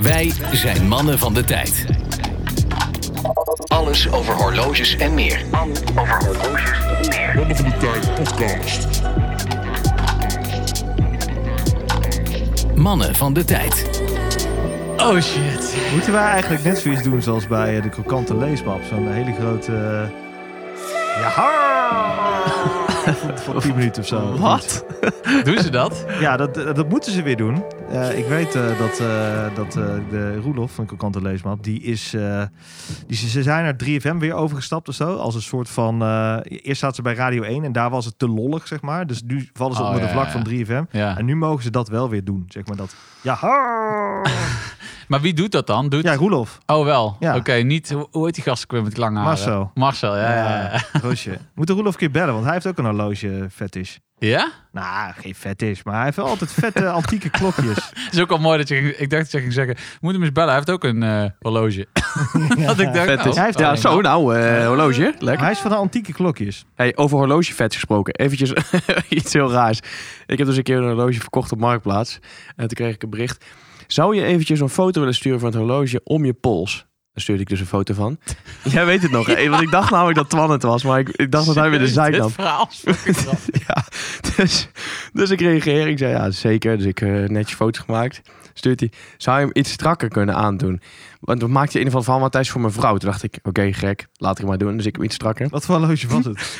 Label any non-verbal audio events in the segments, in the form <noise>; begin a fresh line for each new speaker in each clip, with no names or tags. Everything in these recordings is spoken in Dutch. Wij zijn mannen van de tijd. Alles over horloges en meer.
Mannen van de Tijd podcast.
Mannen van de tijd.
Oh shit.
Moeten wij eigenlijk net zoiets doen zoals bij eh, de krokante leesmap? Zo'n hele grote...
<laughs>
eh Jaha! Van- Van 10 minuten of zo.
Wat? <laughs> Doen ze dat?
Ja, dat, eh, dat moeten ze weer doen. Eh, ik weet eh, dat, eh, dat eh, de Roelof van Krokante Leesmap, die is... eh, die, ze ze zijn naar 3FM weer overgestapt of zo. Als een soort van... eh, eerst zaten ze bij Radio 1 en daar was het te lollig, zeg maar. Dus nu vallen ze
Oh,
onder
ja,
de vlak
ja.
van 3FM.
Ja.
En nu mogen ze dat wel weer doen, zeg maar. Dat, Jaha!
Maar wie doet dat dan? Doet...
Ja, Roelof.
Oh wel.
Ja.
Oké, niet. Hoe hoe heet die gast ook weer met die lange haren?
Marcel.
Marcel, ja. Ja? ja.
Ja,
<laughs>
horloge. Eh, Moet de Roelof een keer bellen, want hij heeft ook een horloge eh, fetish.
ja?
Nou, geen fetish, maar hij heeft wel altijd
<laughs>
vette antieke klokjes.
Het is ook al mooi dat je. ging- Ik dacht dat je ging zeggen. Moet hem eens bellen. Hij heeft ook een eh, horloge. dat ik dacht.
Vet is.
nou,
Hij heeft
ja,
oh,
zo nou, eh, horloge.
Maar
Lekker.
hij is van de antieke klokjes.
Hey, over horlogevet gesproken. Eventjes <laughs> iets heel raars. Ik heb dus een keer een horloge verkocht op Marktplaats. En toen kreeg ik een bericht. Zou je eventjes een foto willen sturen van het horloge om je pols? Daar stuurde ik dus een foto van. <laughs> Jij weet het nog, hè? Want ik dacht namelijk dat Twan het was. Maar ik, ik dacht dat hij weer de zijk nam.
Dit verhaal is fucking grappig.
<laughs> Ja, dus, dus ik reageer. Ik zei ja, zeker. Dus ik eh netjes foto's gemaakt. Stuurt hij, zou je hem iets strakker kunnen aandoen? Want we maakten in ieder geval van Matthijs voor mijn vrouw. Toen dacht ik, oké gek, laat ik het maar doen. Dus ik hem iets strakker.
Wat voor horloge was het?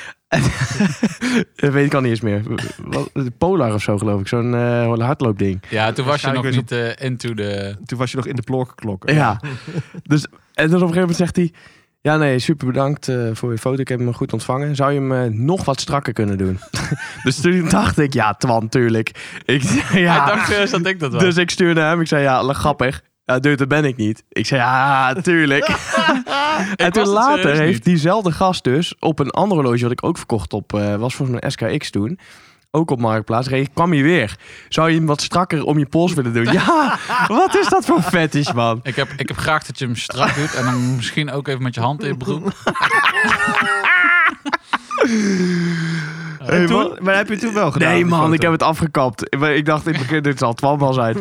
Dat weet ik al niet eens meer. Wat- De Polar of zo geloof ik. Zo'n eh hardloopding.
Ja, toen was je nog
Waarschijnlijk
niet eh, into de.
Toen was je nog in de plorkenklokken.
Ja. Dus, en dan op een gegeven moment zegt hij... Ja, nee, super bedankt eh, voor je foto. Ik heb hem goed ontvangen. Zou je hem eh, nog wat strakker kunnen doen? <laughs> dus toen dacht ik, ja, Twan, tuurlijk. Ik, <laughs> ja,
Hij <laughs> dacht eerst dat ik dat was.
Dus ik stuurde hem. Ik zei, ja, la- grappig. Ja, dude, dat ben ik niet. Ik zei,
<laughs>
ja, tuurlijk. en toen
het
later
serieus
heeft
niet.
diezelfde gast dus op een ander horloge... wat ik ook verkocht op, eh, was volgens mij een SKX toen... Ook op Marktplaats. reed- kwam hij weer. Zou je hem wat strakker om je pols willen
<laughs>
doen? Ja, wat is dat voor fetish, man?
Ik heb, ik heb graag dat je hem strak doet. En dan misschien ook even met je hand in je broek.
En toen, maar heb je toen wel gedaan?
Nee,
die
man,
foto?
ik heb het afgekapt. Maar Ik dacht in het begin, dit zal Twan wel
<laughs>
zijn.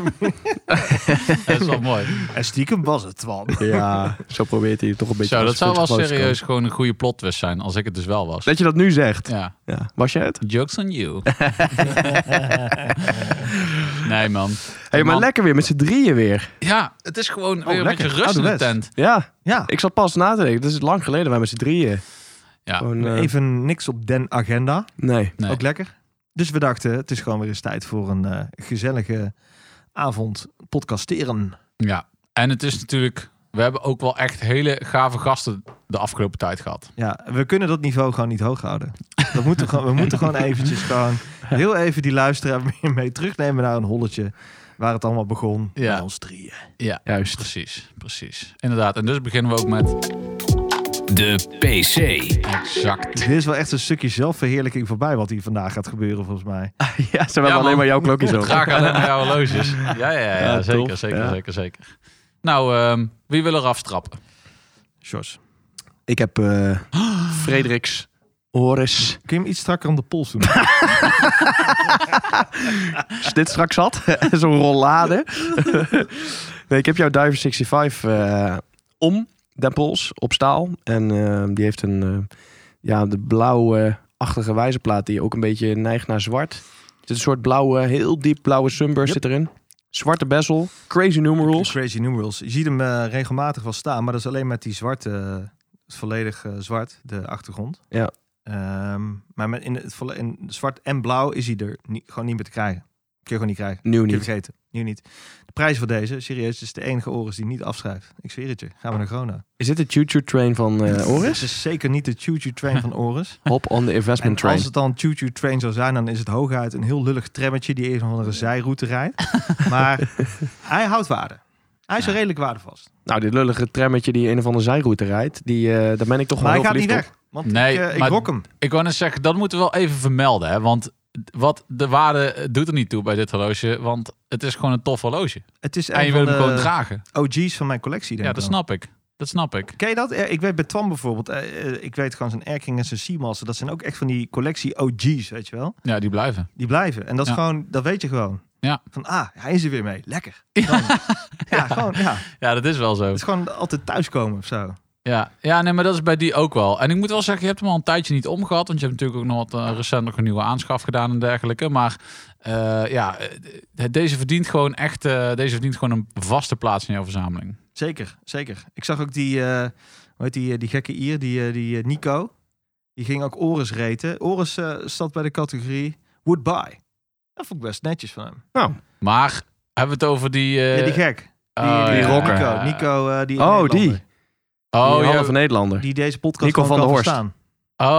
Dat is wel mooi.
En stiekem was het,
<laughs>
Twan.
Ja, zo probeert hij het toch een beetje...
Zo,
als
dat zou wel
goed te
serieus
komen.
gewoon een goede plot twist zijn. Als ik het dus wel was.
Dat je dat nu zegt.
Ja.
Ja. Was jij het?
Jokes on you. nee, man.
Hé, hey, maar
man.
lekker weer, met z'n drieën weer.
Ja, het is gewoon weer een
lekker.
beetje rust in de
Ouderwets.
tent.
Ja,
Ja,
ik zat pas na te denken. Het is lang geleden wij met z'n drieën.
Ja.
Gewoon, eh,
even niks op den agenda.
Nee.
Nee.
Ook lekker. Dus we dachten, het is gewoon weer eens tijd voor een eh, gezellige avond podcasteren.
Ja. En het is natuurlijk... We hebben ook wel echt hele gave gasten de afgelopen tijd gehad.
Ja, we kunnen dat niveau gewoon niet hoog houden. Dat moeten we, gewoon, we moeten gewoon eventjes gewoon heel even die luisteraar mee, mee terugnemen naar een holletje waar het allemaal begon.
Ja.
Met ons drieën.
Ja,
Juist.
precies. Precies. Inderdaad. En dus beginnen we ook met...
De PC.
Exact.
Dus Dit is wel echt een stukje zelfverheerlijking voorbij wat hier vandaag gaat gebeuren volgens mij.
<laughs> Ja, ze hebben
man.
alleen maar jouw <laughs> klokjes op.
Graag alleen maar jouw horloges. Ja, ja, ja,
Ja,
zeker,
tof.
zeker,
Ja.
zeker, zeker. Nou, ehm, wie wil er afstrappen?
Sjors,
Ik heb <gasps> eh Frederiks Horus.
kun je hem iets strakker om de pols doen?
Is dit straks zat? <laughs> Zo'n rollade. <laughs> nee, ik heb jouw Diver 65 eh, om, den pols, op staal. En eh, die heeft een, eh, ja, de blauwe-achtige wijzerplaat die ook een beetje neigt naar zwart. Het is een soort blauwe, heel diep blauwe sunburst zit erin. Zwarte bezel, crazy numerals.
Crazy numerals. Je ziet hem eh, regelmatig wel staan, maar dat is alleen met die zwarte, eh, het volledig eh, zwart, de achtergrond.
Ja.
Ehm, maar met in, het, volle- in zwart en blauw is hij er niet, gewoon niet meer te krijgen. Kun je gewoon niet krijgen.
Nieuw niet.
Niet vergeten. Nu niet. De prijs voor deze, serieus, is de enige Oris die niet afschrijft. Ik zweer het je. Gaan we naar Grona.
Is dit de choo-choo train van <laughs> eh
Het
Oris?
is zeker niet de choo-choo train van Oris.
Hop on the
En
investment train.
als het dan choo-choo train zou zijn, dan is het hooguit een heel lullig trammetje die even een of andere zijroute rijdt.
<laughs>
Maar hij houdt waarde. Hij is
Ja.
redelijk waardevast.
Nou, dit lullige trammetje die een of andere zijroute rijdt, die, eh, daar ben ik toch wel
Maar hij gaat
heel
niet
verliefd
weg. Want
Nee,
ik, eh, ik
maar-
rok hem.
Ik wou net zeggen, dat moeten we wel even vermelden. Hè? Want wat de waarde eh, doet er niet toe bij dit horloge. Want het is gewoon een tof horloge.
Het is
en
een
Ah, je wil
van
hem gewoon
de
dragen.
OG's van mijn collectie. Denk
Ja,
ik
dat
dan.
snap ik. Dat snap ik.
Ken je dat? Eh, Ik weet bij Twan bijvoorbeeld, eh, eh, ik weet gewoon zijn Erking en zijn Seamaster, dat zijn ook echt van die collectie OG's, weet je wel.
Ja, die blijven.
Die blijven. En dat is
Ja.
gewoon, dat weet je gewoon.
Ja.
Van, ah, hij is er weer mee.
<laughs>
Lekker. Dan. Ja, gewoon, ja.
Ja, dat is wel zo.
Het is gewoon altijd thuiskomen of zo.
Ja. ja, nee, maar dat is bij die ook wel. En ik moet wel zeggen, je hebt hem al een tijdje niet omgehad. Want je hebt natuurlijk ook nog wat, eh, recent nog een nieuwe aanschaf gedaan en dergelijke. Maar eh, ja, eh, de- deze verdient gewoon echt eh, deze verdient gewoon een vaste plaats in jouw verzameling.
Zeker, zeker. Ik zag ook die, eh, hoe heet die, eh, die gekke Ier, die, eh, die eh, Nico. Die ging ook Oris reten. Oris eh staat bij de categorie Woodbye. Dat vond ik best netjes van hem.
Maar hebben we het over die... eh,
ja, die gek. Die,
oh,
die
ja,
rocker.
Nico.
ja.
Nico eh, die
Oh,
Nederlander.
die.
Oh,
die
ja.
halve Nederlander.
Die deze podcast
Nico
gewoon
van
kan
der Horst.
verstaan.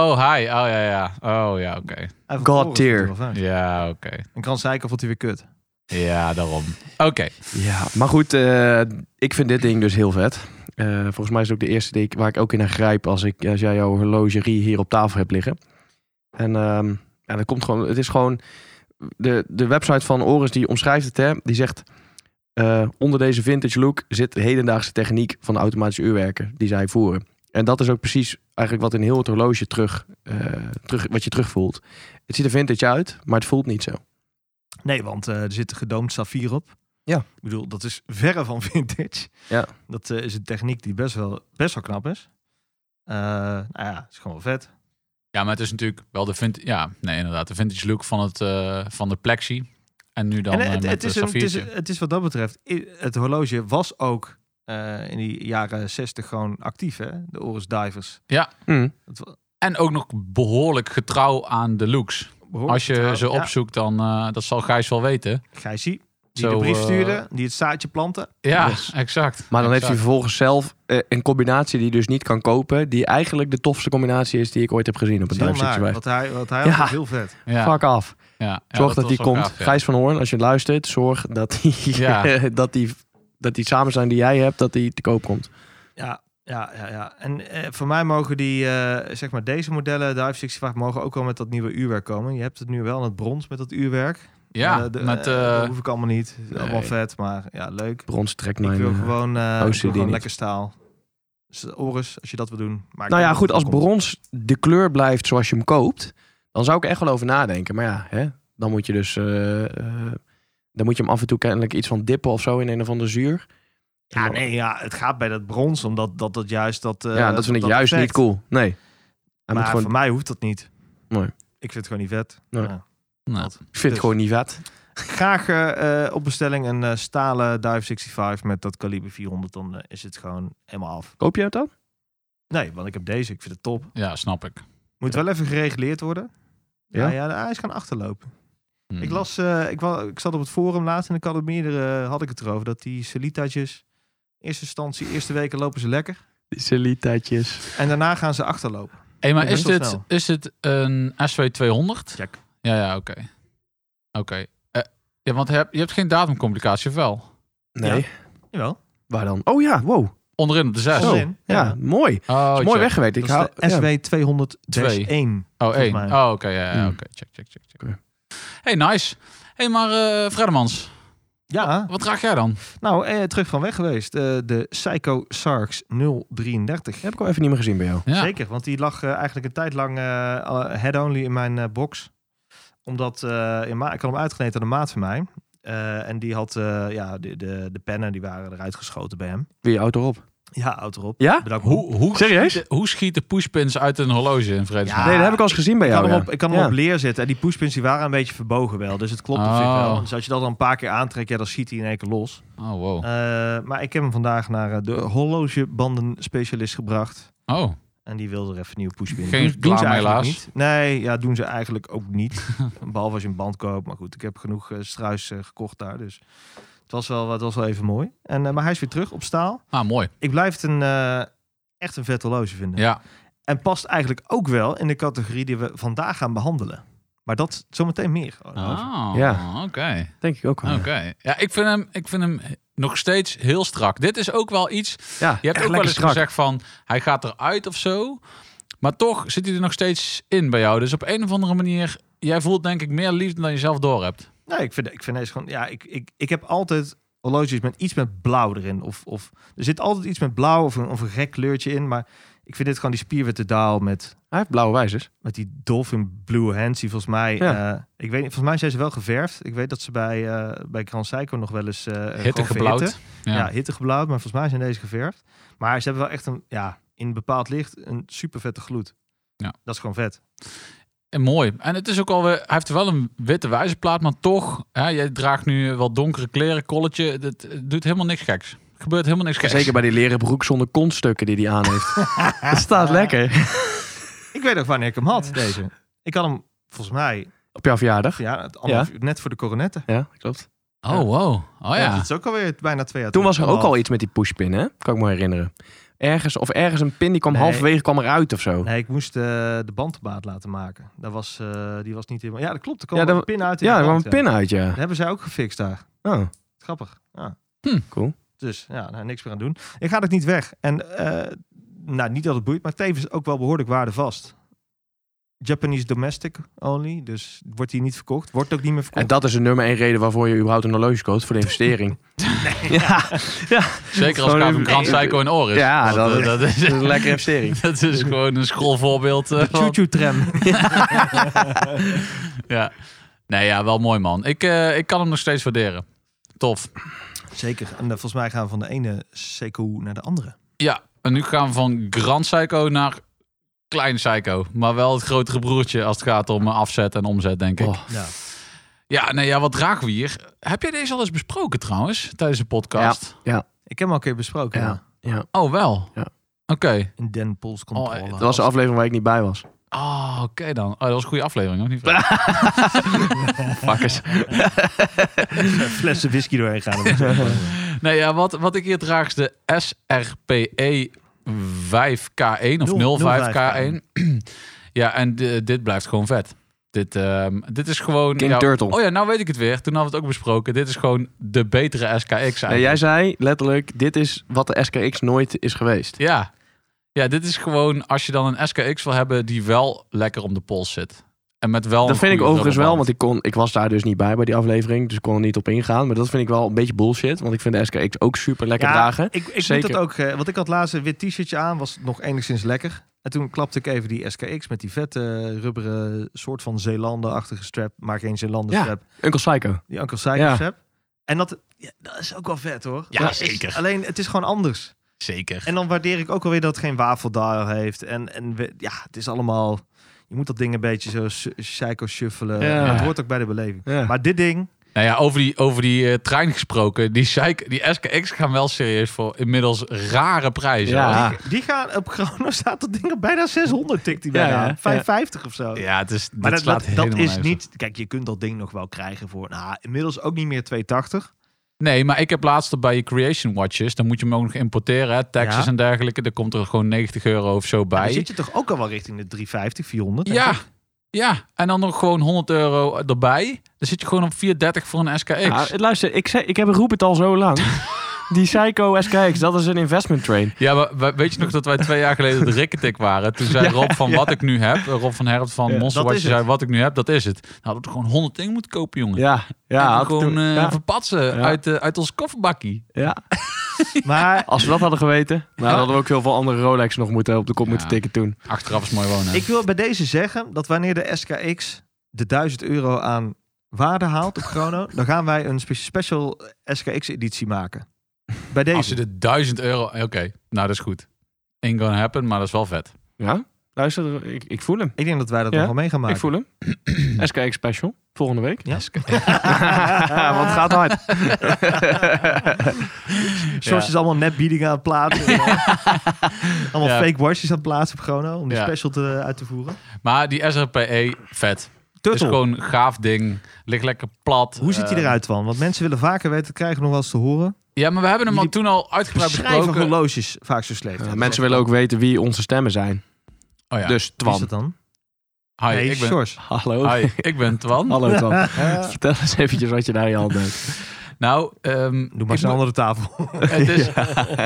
Oh, hi. Oh, ja, ja. Oh, ja, oké.
Hij vond
God
Oris
tier.
natuurlijk wel fijn.
Ja, oké.
En Krans Zeiker vond hij weer kut.
Ja, daarom. Oké.
Ja, maar goed, eh, ik vind dit ding dus heel vet. Eh, volgens mij is het ook de eerste die ik, waar ik ook in naar grijp als, ik, als jij jouw horlogerie hier op tafel hebt liggen. En ehm, ja, dat komt gewoon, het is gewoon, de, de website van Oris die omschrijft het, hè, die zegt, eh, onder deze vintage look zit de hedendaagse techniek van de automatische uurwerken die zij voeren. En dat is ook precies eigenlijk wat in heel het horloge terug, eh, terug wat je terugvoelt. Het ziet er vintage uit, maar het voelt niet zo.
Nee, want eh, er zit een gedoomd saffier op.
Ja.
Ik bedoel, dat is verre van <laughs> vintage.
Ja.
Dat eh, is een techniek die best wel, best wel knap is. Eh, nou ja, is gewoon wel vet.
Ja, maar het is natuurlijk wel de vintage... Ja, nee, inderdaad. De vintage look van, het, eh, van de plexi. En nu dan
en
eh,
het,
met
het, is
de
een, het, is,
saffiertje.
het is wat dat betreft, i- het horloge was ook eh, in die jaren 60 gewoon actief, hè? De Oris Divers.
Hm.
Dat wa-
En ook nog behoorlijk getrouw aan de looks.
behoorlijk
Als je
getrouw.
ze
Ja,
opzoekt, dan... eh, dat zal Gijs wel weten.
Gijsie, die
Zo,
de brief
eh,
stuurde, die het zaadje plantte.
Ja,
Yes.
exact.
Maar dan heeft hij
Exact.
vervolgens zelf eh, een combinatie die hij dus niet kan kopen. Die eigenlijk de tofste combinatie is die ik ooit heb gezien op een
Dat is heel
duimstukje
naar,
bij.
wat hij, wat hij
Ja.
had was heel vet.
Ja,
Fuck af.
ja, ja,
Zorg dat,
was
die
wel
komt.
gaaf, ja.
Gijs van Hoorn, als je luistert, zorg dat die,
Ja.
<laughs> dat die, dat die samen zijn die jij hebt, dat die te koop komt.
Ja, ja, ja. ja. En eh, voor mij mogen die, eh, zeg maar deze modellen, de Dive 65, mogen ook wel met dat nieuwe uurwerk komen. Je hebt het nu wel aan het brons met dat uurwerk.
Ja,
Eh, de-
met...
eh, dat
eh,
hoef ik allemaal niet. Het is Allemaal
nee.
vet, maar ja, leuk.
Brons trekt
Ik
mijn...
wil
eh,
gewoon, eh, ik wil
OCD
gewoon
niet.
lekker staal. Dus Oris, als je dat wil doen. Maar ik
nou ja,
denk
goed,
dat
als
het wel komt.
brons de kleur blijft zoals je hem koopt, dan zou ik er echt wel over nadenken. Maar ja, hè, dan moet je dus... eh, eh, dan moet je hem af en toe kennelijk iets van dippen of zo in een of ander zuur.
Ja, nee, ja, het gaat bij dat brons, omdat dat, dat juist dat... eh,
ja, dat vind ik juist
effect.
niet cool. Nee. Hij moet
Maar
gewoon
voor mij hoeft dat niet.
Nee.
Ik vind het gewoon niet vet. Eh,
Nee.
Ja.
nou,
Ik
dus-
vind het gewoon niet vet.
Graag eh, eh, op bestelling een eh, stalen Dive 65 met dat kaliber 400. Dan eh, is het gewoon helemaal af.
Koop je het dan?
Nee, want ik heb deze. Ik vind het top.
ja, snap ik.
Moet wel even gereguleerd worden.
Ja? Hmm.
Ja, ja, hij is gaan achterlopen.
Hm.
Ik las, eh, ik, wa- ik zat op het forum laatst en ik had het meerdere, eh, had ik het erover. Dat die Celitaatjes, eerste instantie, eerste weken lopen ze lekker.
Celitaatjes.
En daarna gaan ze achterlopen.
Hey, maar
Ja,
is
best wel
dit,
snel.
is dit een SW200?
Check.
Ja, ja, oké. Oké. Eh, ja, want heb, je hebt geen datumcomplicatie, of wel?
Nee.
Jawel.
Waar dan? Oh ja, wow.
Onderin op de 6.
Zo.
Oh,
Onderin.
Ja, mooi. Is mooi
check.
weggewerkt. Ik hou,
Dat is
ja.
de SW 200-1.
Oh, één.
mij.
Oh, oké. ja, ja,
Hmm.
oké. Check, check, check. check.
Oké.
Hey, nice. Hey, maar eh Fredemans,
Ja,
wat draag jij dan?
Ah. nou, eh, terug van weg geweest. Eh, de Psycho Sarks 033.
Heb ik al even niet meer gezien bij jou.
Ja.
Zeker, want die lag eh, eigenlijk een tijd lang eh, head-only in mijn eh, box. Omdat, eh, ja, maar ik had hem uitgeneten aan de maat van mij. Eh, en die had, eh, ja, de, de, de pennen die waren eruit geschoten bij hem.
Weer je auto erop.
Ja, oud erop.
Ja?
Bedankt. man.
Hoe, hoe,
Serieus?
schieten- hoe schieten pushpins uit een horloge in vredesnaam?
Ja.
nee, dat heb ik al eens gezien bij
Ik
jou.
kan, hem
ja.
op, ik kan hem
Ja.
op leer zetten. En die pushpins die waren een beetje verbogen wel. Dus het klopt op zich
Oh.
wel. Dus als je dat dan een paar keer aantrekt, ja, dan schiet hij in één keer los.
Oh, wow.
Eh, maar ik heb hem vandaag naar eh, de horlogebandenspecialist gebracht.
Oh,
En die wilde er even nieuwe pushpin.
Geen
Doen- doen
reclame,
ze eigenlijk
helaas.
Niet. Nee, ja, doen ze eigenlijk ook <laughs> niet. Behalve als je een band koopt. Maar goed, ik heb genoeg eh, struis eh, gekocht daar. Dus het was wel, het was wel even mooi. En, eh, maar hij is weer terug op staal.
ah, mooi.
Ik blijf het een, eh, echt een vet horloge vinden.
Ja.
En past eigenlijk ook wel in de categorie die we vandaag gaan behandelen. Maar dat zometeen meer. over.
Ah,
Ja.
oké.
Denk ik ook wel.
Oké. Ja, ik vind, hem, ik vind hem nog steeds heel strak. Dit is ook wel iets...
Ja,
Je hebt
echt
ook wel eens
lekker strak.
gezegd van... hij gaat eruit of zo. Maar toch zit hij er nog steeds in bij jou. Dus op een of andere manier... jij voelt denk ik meer liefde dan je zelf doorhebt.
Nee, ik vind, ik vind deze gewoon. Ja, ik, ik, ik heb altijd horloges met iets met blauw erin. Of, of er zit altijd iets met blauw of een, of een gek kleurtje in. Maar ik vind dit gewoon die spierwitte daal met
Hij heeft blauwe wijzers.
Met die Dolphin Blue Hands, die volgens mij...
Ja.
eh, ik weet niet, volgens mij zijn ze wel geverfd. Ik weet dat ze bij, eh bij Gran Seiko nog wel eens... eh,
Hitte
gewoon verhitten.
geblauwd.
Ja,
Ja.
hitte geblauwd, maar volgens mij zijn deze geverfd. Maar ze hebben wel echt een, ja, in een bepaald licht een super vette gloed.
Ja.
Dat is gewoon vet.
En mooi. En het is ook alweer, hij heeft wel een witte wijzerplaat, maar toch, hè, jij draagt nu wel donkere kleren, colletje. Dat eh, doet helemaal niks geks. Er gebeurt helemaal niks geks.
Zeker bij die leren broek zonder kontstukken die hij aan
<laughs>
heeft. dat staat lekker.
Ik weet ook wanneer ik hem had, deze. Ik had hem volgens mij
Op jouw verjaardag.
ja, het anderhalf uur net voor de coronetten.
Ja, klopt.
Oh, wow. Oh
Ja, dat
ja.
is ook alweer bijna twee jaar
Toen was er ook al
Anderhalf.
iets met die pushpin, hè? Kan ik me herinneren. Ergens, of ergens een pin die kwam
Nee.
halverwege kwam eruit of zo.
Nee, ik moest eh, de bandbaat laten maken. Dat was, eh, die was niet helemaal... Ja, dat klopt. Er kwam
Ja,
wel
dat-
een pin uit. in
ja,
de
er kwam een
band, ja.
pin uit, ja.
Dat hebben zij ook gefixt daar.
Oh,
Grappig. Ja.
cool.
Dus ja, nou, niks meer aan doen. Ik ga het niet weg. En eh, nou, niet dat het boeit, maar tevens ook wel behoorlijk waardevast. Japanese domestic only. Dus wordt die niet verkocht. Wordt ook niet meer
En
verkocht.
dat is de nummer één reden waarvoor je überhaupt een horloge koopt, voor de <laughs> investering. ja,
Zeker als
Gewoon
Kaven
even-
Grand Psycho in oor is.
Ja,
Want,
dat-
eh, dat is, <laughs>
<laughs> dat is een lekkere investering.
dat is gewoon een schoolvoorbeeld. eh, van-
Choo-choo tram.
<laughs>
ja. Nee, ja, wel mooi man. Ik, eh, ik kan hem nog steeds waarderen. Tof.
Zeker. En eh, volgens mij gaan we van de ene Sekou naar de andere.
Ja, en nu gaan we van Grand Psycho naar Klein Psycho. Maar wel het grotere broertje als het gaat om eh, afzet en omzet, denk ik.
Oh.
Ja.
Ja, nee, ja, wat dragen we hier? Heb jij deze al eens besproken trouwens, tijdens de
Ja,
podcast?
ja,
Ik heb hem al een keer besproken.
Ja.
Ja.
ja.
Oh, wel?
Ja.
Oké.
In Den Pols Controle.
Oh,
Dat was de aflevering waar ik niet bij was.
Oh, oké dan. Oh, dat was een goede aflevering, hoor. Niet
<laughs>
waar?
Fuckers.
flessen whisky doorheen
<laughs>
gaan.
nee, ja, wat, wat ik hier draag is de SRPE 5K1 of
Nul-
05K1. <clears throat> ja, en de- dit blijft gewoon vet. Dit, ehm, dit is gewoon...
King
ja,
Turtle.
Oh ja, nou weet ik het weer. Toen hadden we het ook besproken. Dit is gewoon de betere SKX eigenlijk.
<laughs> Nee, jij zei letterlijk, dit is wat de SKX nooit is geweest.
Ja. Ja, dit is gewoon als je dan een SKX wil hebben die wel lekker om de pols zit. En met wel.
Dat
een
vind ik
goede
overigens wel, want
rubberband.
ik, kon, ik was daar dus niet bij bij die aflevering. Dus ik kon er niet op ingaan. Maar dat vind ik wel een beetje bullshit. Want ik vind de SKX ook super lekker dragen.
Ik, ik moet
Zeker.
dat ook, eh, want ik had laatst een wit t-shirtje aan, was nog enigszins lekker. En toen klapte ik even die SKX met die vette eh, rubberen soort van Zeelanden-achtige strap, maar geen Zeelanden
Ja.
strap,
Uncle Psycho.
die Uncle Cycle
Ja.
strap. En dat, ja, dat is ook wel vet hoor.
Ja,
Dat is-
zeker.
alleen het is gewoon anders.
Zeker.
En dan waardeer ik ook alweer dat het geen wafeldial heeft. En, en we- ja, het is allemaal, je moet dat ding een beetje zo s- psycho shuffelen.
Ja.
Het hoort ook bij de beleving.
Ja.
Maar dit ding,
Nou ja, over die, over die eh, trein gesproken. Die, Psych- die SKX gaan wel serieus voor inmiddels rare prijzen.
Ja.
hoor.
die gaan op Chrono staat dat ding op bijna 600 tikt die
Ja,
bijna
ja,
aan.
ja.
550 of zo.
ja het is, dit
Maar dat,
slaat
dat, dat
helemaal
is
nergens op.
niet. Kijk, je kunt dat ding nog wel krijgen voor. Nou, inmiddels ook niet meer 280.
Nee, maar ik heb laatst bij je Creation Watches. Dan moet je hem ook nog importeren. Hè, taxes
Ja.
en dergelijke. Daar komt er gewoon 90 euro of zo
Dan
bij.
zit je toch ook al wel richting de 350, 400. denk
Ja,
ik?
ja. En dan nog gewoon 100 euro erbij. Dan zit je gewoon op 430 voor een SKX.
Ja, luister, ik, zei, ik heb roep het al zo <laughs> lang. Die Psycho SKX, dat is een investment train.
Ja, maar we- weet je nog dat wij twee jaar geleden de Rikketik waren? Toen
<laughs>
zei Rob van wat ik nu heb, eh, Rob van Herpt van
Ja,
Monster
dat
Watch,
is
zei
het.
wat ik nu heb, dat is het. Nou, dat we gewoon honderd dingen moeten kopen, jongen.
Ja,
En
ja. had
gewoon
toen-
eh,
ja,
verpatsen uit, eh, uit ons kofferbakkie.
ja.
Maar
Als we dat hadden geweten, nou, dan hadden we ook heel veel andere Rolex nog moeten, op de kop
Ja.
moeten tikken toen.
Achteraf is mooi wonen. hè?
ik wil bij deze zeggen dat wanneer de SKX de 1000 euro aan waarde haalt op
<laughs>
Chrono, dan gaan wij een spe- special SKX-editie maken. Bij
Als je
deze.
de 1000 euro... Oké, nou dat is goed. Ain't gonna happen, maar dat is wel vet.
Ja, luister, ik, ik voel hem.
Ik denk dat wij dat
Ja,
nog wel mee gaan maken.
Ik voel hem. SKX special, volgende week.
Ja? <laughs>
Want het gaat hard.
George is allemaal netbiedingen aan het plaatsen.
<laughs>
allemaal
Ja.
fake watches aan het plaatsen op Chrono om die
Ja.
special te, uit te voeren.
Maar die SRPE, E, vet. Is
Turtle.
gewoon een gaaf ding. Ligt lekker plat.
Hoe ziet hij
Eh,
eruit van? Want mensen willen vaker weten, krijgen we nog wel eens te horen.
Ja, maar we hebben hem al toen al uitgebreid
Schrijven
besproken.
horloges vaak zo slecht.
Ja, Eh, mensen willen ook weten wie onze stemmen zijn.
Oh ja.
Dus
Wie is
Twan.
dat dan?
Hi,
nee, Oh.
ik ben... <laughs> Eh,
Sjors.
Hallo.
Hi, ik ben Twan.
<laughs> Hallo Twan.
<laughs>
Vertel eens eventjes wat je daar in je hand hebt.
Nou, ehm,
Doe
ik
maar
moet-
eens een andere
<laughs>
tafel.
Het
<laughs>
is,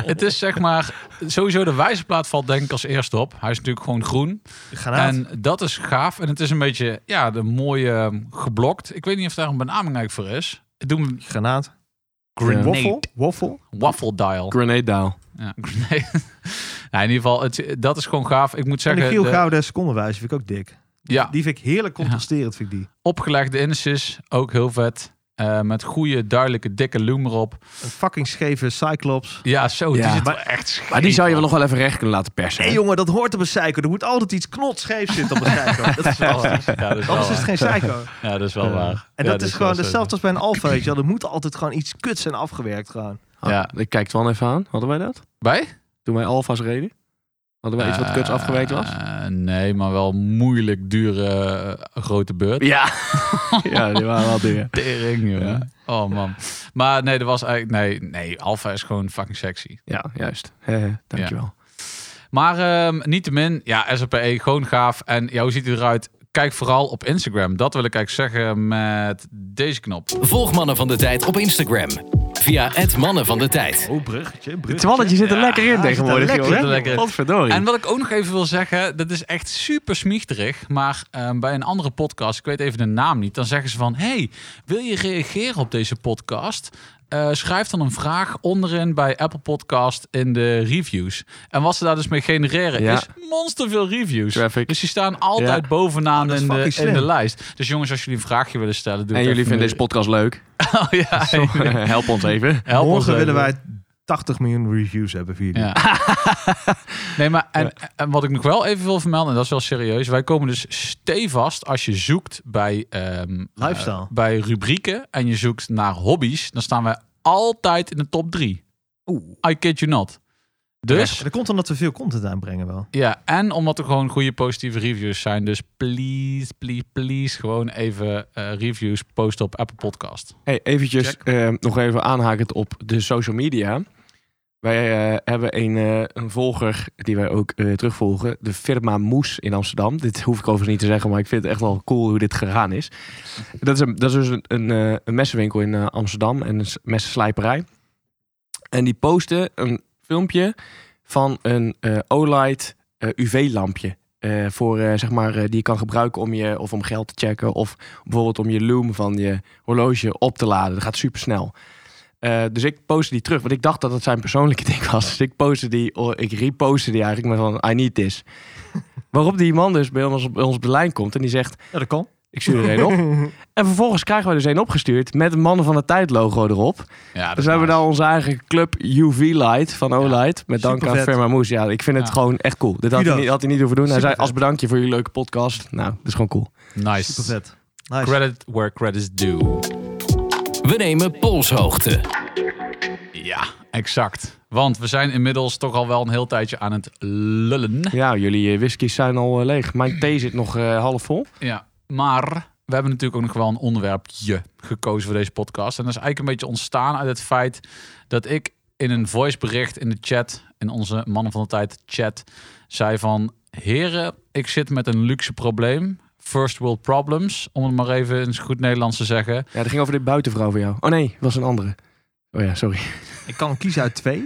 het is zeg maar, sowieso de wijzerplaat valt denk ik als eerste op. Hij is natuurlijk gewoon groen.
Granaat.
En dat is gaaf. En het is een beetje, ja, de mooie ehm, geblokt. Ik weet niet of daar een benaming eigenlijk voor is. Het doet me
Granaat.
Grenade.
Waffle. Waffle.
waffle dial.
Grenade dial.
Ja, grenade. Nou, in ieder geval, het, dat is gewoon gaaf. Ik moet
En de
zeggen,
Giel
de-
Gouden secondenwijze vind ik ook dik.
ja,
Die vind ik heerlijk contrasterend, vind ik die.
opgelegde inches, ook heel vet. Eh, met goede, duidelijke, dikke loom erop.
Een fucking scheve Cyclops.
Ja, zo.
Ja.
Die zit
Maar-
wel echt scheef
Maar die zou je
op.
wel nog wel even recht kunnen laten persen.
Hé
hè?
jongen, dat hoort op een psycho. Er moet altijd iets knotscheef zitten op een
<laughs>
psycho. Dat is wel waar.
Ja, dat is wel
Anders is het
waar.
geen psycho.
Ja, dat is wel waar.
En
Ja,
dat is gewoon
wel zo.
hetzelfde als bij een alfa, weet je wel. Er moet altijd gewoon iets kuts zijn afgewerkt gewoon.
Oh,
Ja.
Ik kijk het wel even aan. Hadden wij dat?
Bij?
Toen wij Alfa's reden? Hadden wij iets wat kuts afgewerkt was?
Eh, nee, maar wel moeilijk dure eh, grote beurt.
Ja. <laughs> ja, die waren wel dingen.
Tering, jongen. Oh man. Maar nee, er was eigenlijk. Nee, nee, Alpha is gewoon fucking sexy.
Ja, juist. Hehe, Dankjewel.
Maar ehm niettemin, ja, SAPE E, gewoon gaaf. En ja, hoe ziet hij eruit? Kijk vooral op Instagram. Dat wil ik eigenlijk zeggen met deze knop.
Volg Mannen van de Tijd op Instagram. Via het Mannen van de Tijd.
Oh, bruggetje,
Het Twalletje zit er lekker in tegenwoordig,
lekker
jongen.
in.
Lekker in.
Godverdorie.
En wat ik ook nog even wil zeggen, dat is echt super smiechterig. Maar ehm, bij een andere podcast, ik weet even de naam niet, dan zeggen ze van: Hey, wil je reageren op deze podcast? Eh, schrijf dan een vraag onderin bij Apple Podcast in de reviews. En wat ze daar dus mee genereren
Ja.
is monster veel reviews.
Traffic.
Dus die staan altijd
Ja.
bovenaan
Oh, dat is
in, de,
fucking
in de
slim.
lijst. Dus jongens, als jullie een vraagje willen stellen, doe
En
het
jullie
even
vinden
nu.
deze podcast <laughs>
<laughs>
leuk?
Oh, ja,
Help ons even.
Help ons eh,
Morgen
even.
willen wij 80 miljoen reviews hebben voor jullie.
Ja. <laughs> nee, maar en, en wat ik nog wel even wil vermelden, en dat is wel serieus. Wij komen dus stevast als je zoekt bij, ehm,
Lifestyle.
eh, bij rubrieken en je zoekt naar hobby's. Dan staan wij altijd in de top drie. I kid you not. Dus,
Maar dat komt omdat we veel content aanbrengen wel.
ja, en omdat er gewoon goede positieve reviews zijn. Dus please, please, please, gewoon even eh, reviews posten op Apple Podcast.
Hey, eventjes eh, nog even aanhakend op de social media. Wij eh, hebben een, eh, een volger die wij ook eh, terugvolgen. De firma Moes in Amsterdam. Dit hoef ik overigens niet te zeggen, maar ik vind het echt wel cool hoe dit gegaan is. Dat is, een, dat is dus een, een, eh, een messenwinkel in eh, Amsterdam en een s- messenslijperij. En die posten een filmpje van een eh, Olight eh, UV-lampje. eh, voor, eh, zeg maar, eh, die je kan gebruiken om je of om geld te checken. Of bijvoorbeeld om je loom van je horloge op te laden. Dat gaat super snel. dus ik postte die terug, want ik dacht dat het zijn persoonlijke <laughs> ding was. Dus ik postte die, oh, ik repostte die eigenlijk met van I need
<laughs>
this. Waarop die man dus bij ons, op- bij ons op de lijn komt en die zegt,
Ja, dat kan.
ik stuur er een
<laughs>
op. En vervolgens krijgen wij dus een opgestuurd met een Mannen van de Tijd logo erop.
Ja, dat
Dus
is
we hebben
nice.
dan onze eigen club UV Light van Olight. met dank aan
supervet.
Firma Moes. Ja, ik vind het
Ja.
gewoon echt cool. Dit had hij,
Kudos.
niet, had hij niet hoeven doen. Hij zei
Supervet.
als bedankje voor jullie leuke podcast. Nou, dat is gewoon cool.
Super
Nice.
vet. Nice.
Credit where credit's due.
We nemen polshoogte.
Ja, exact. Want we zijn inmiddels toch al wel een heel tijdje aan het lullen.
Ja, jullie eh, whiskies zijn al eh, leeg. Mijn thee zit nog eh, half vol.
Ja, maar we hebben natuurlijk ook nog wel een onderwerpje gekozen voor deze podcast. En dat is eigenlijk een beetje ontstaan uit het feit dat ik in een voicebericht in de chat, in onze Mannen van de Tijd chat, zei van... Heren, ik zit met een luxe probleem. First world problems, om het maar even in goed Nederlands te zeggen.
Ja, dat ging over de buitenvrouw van jou. Oh nee, was een andere. Oh ja, sorry.
Ik kan kiezen uit twee.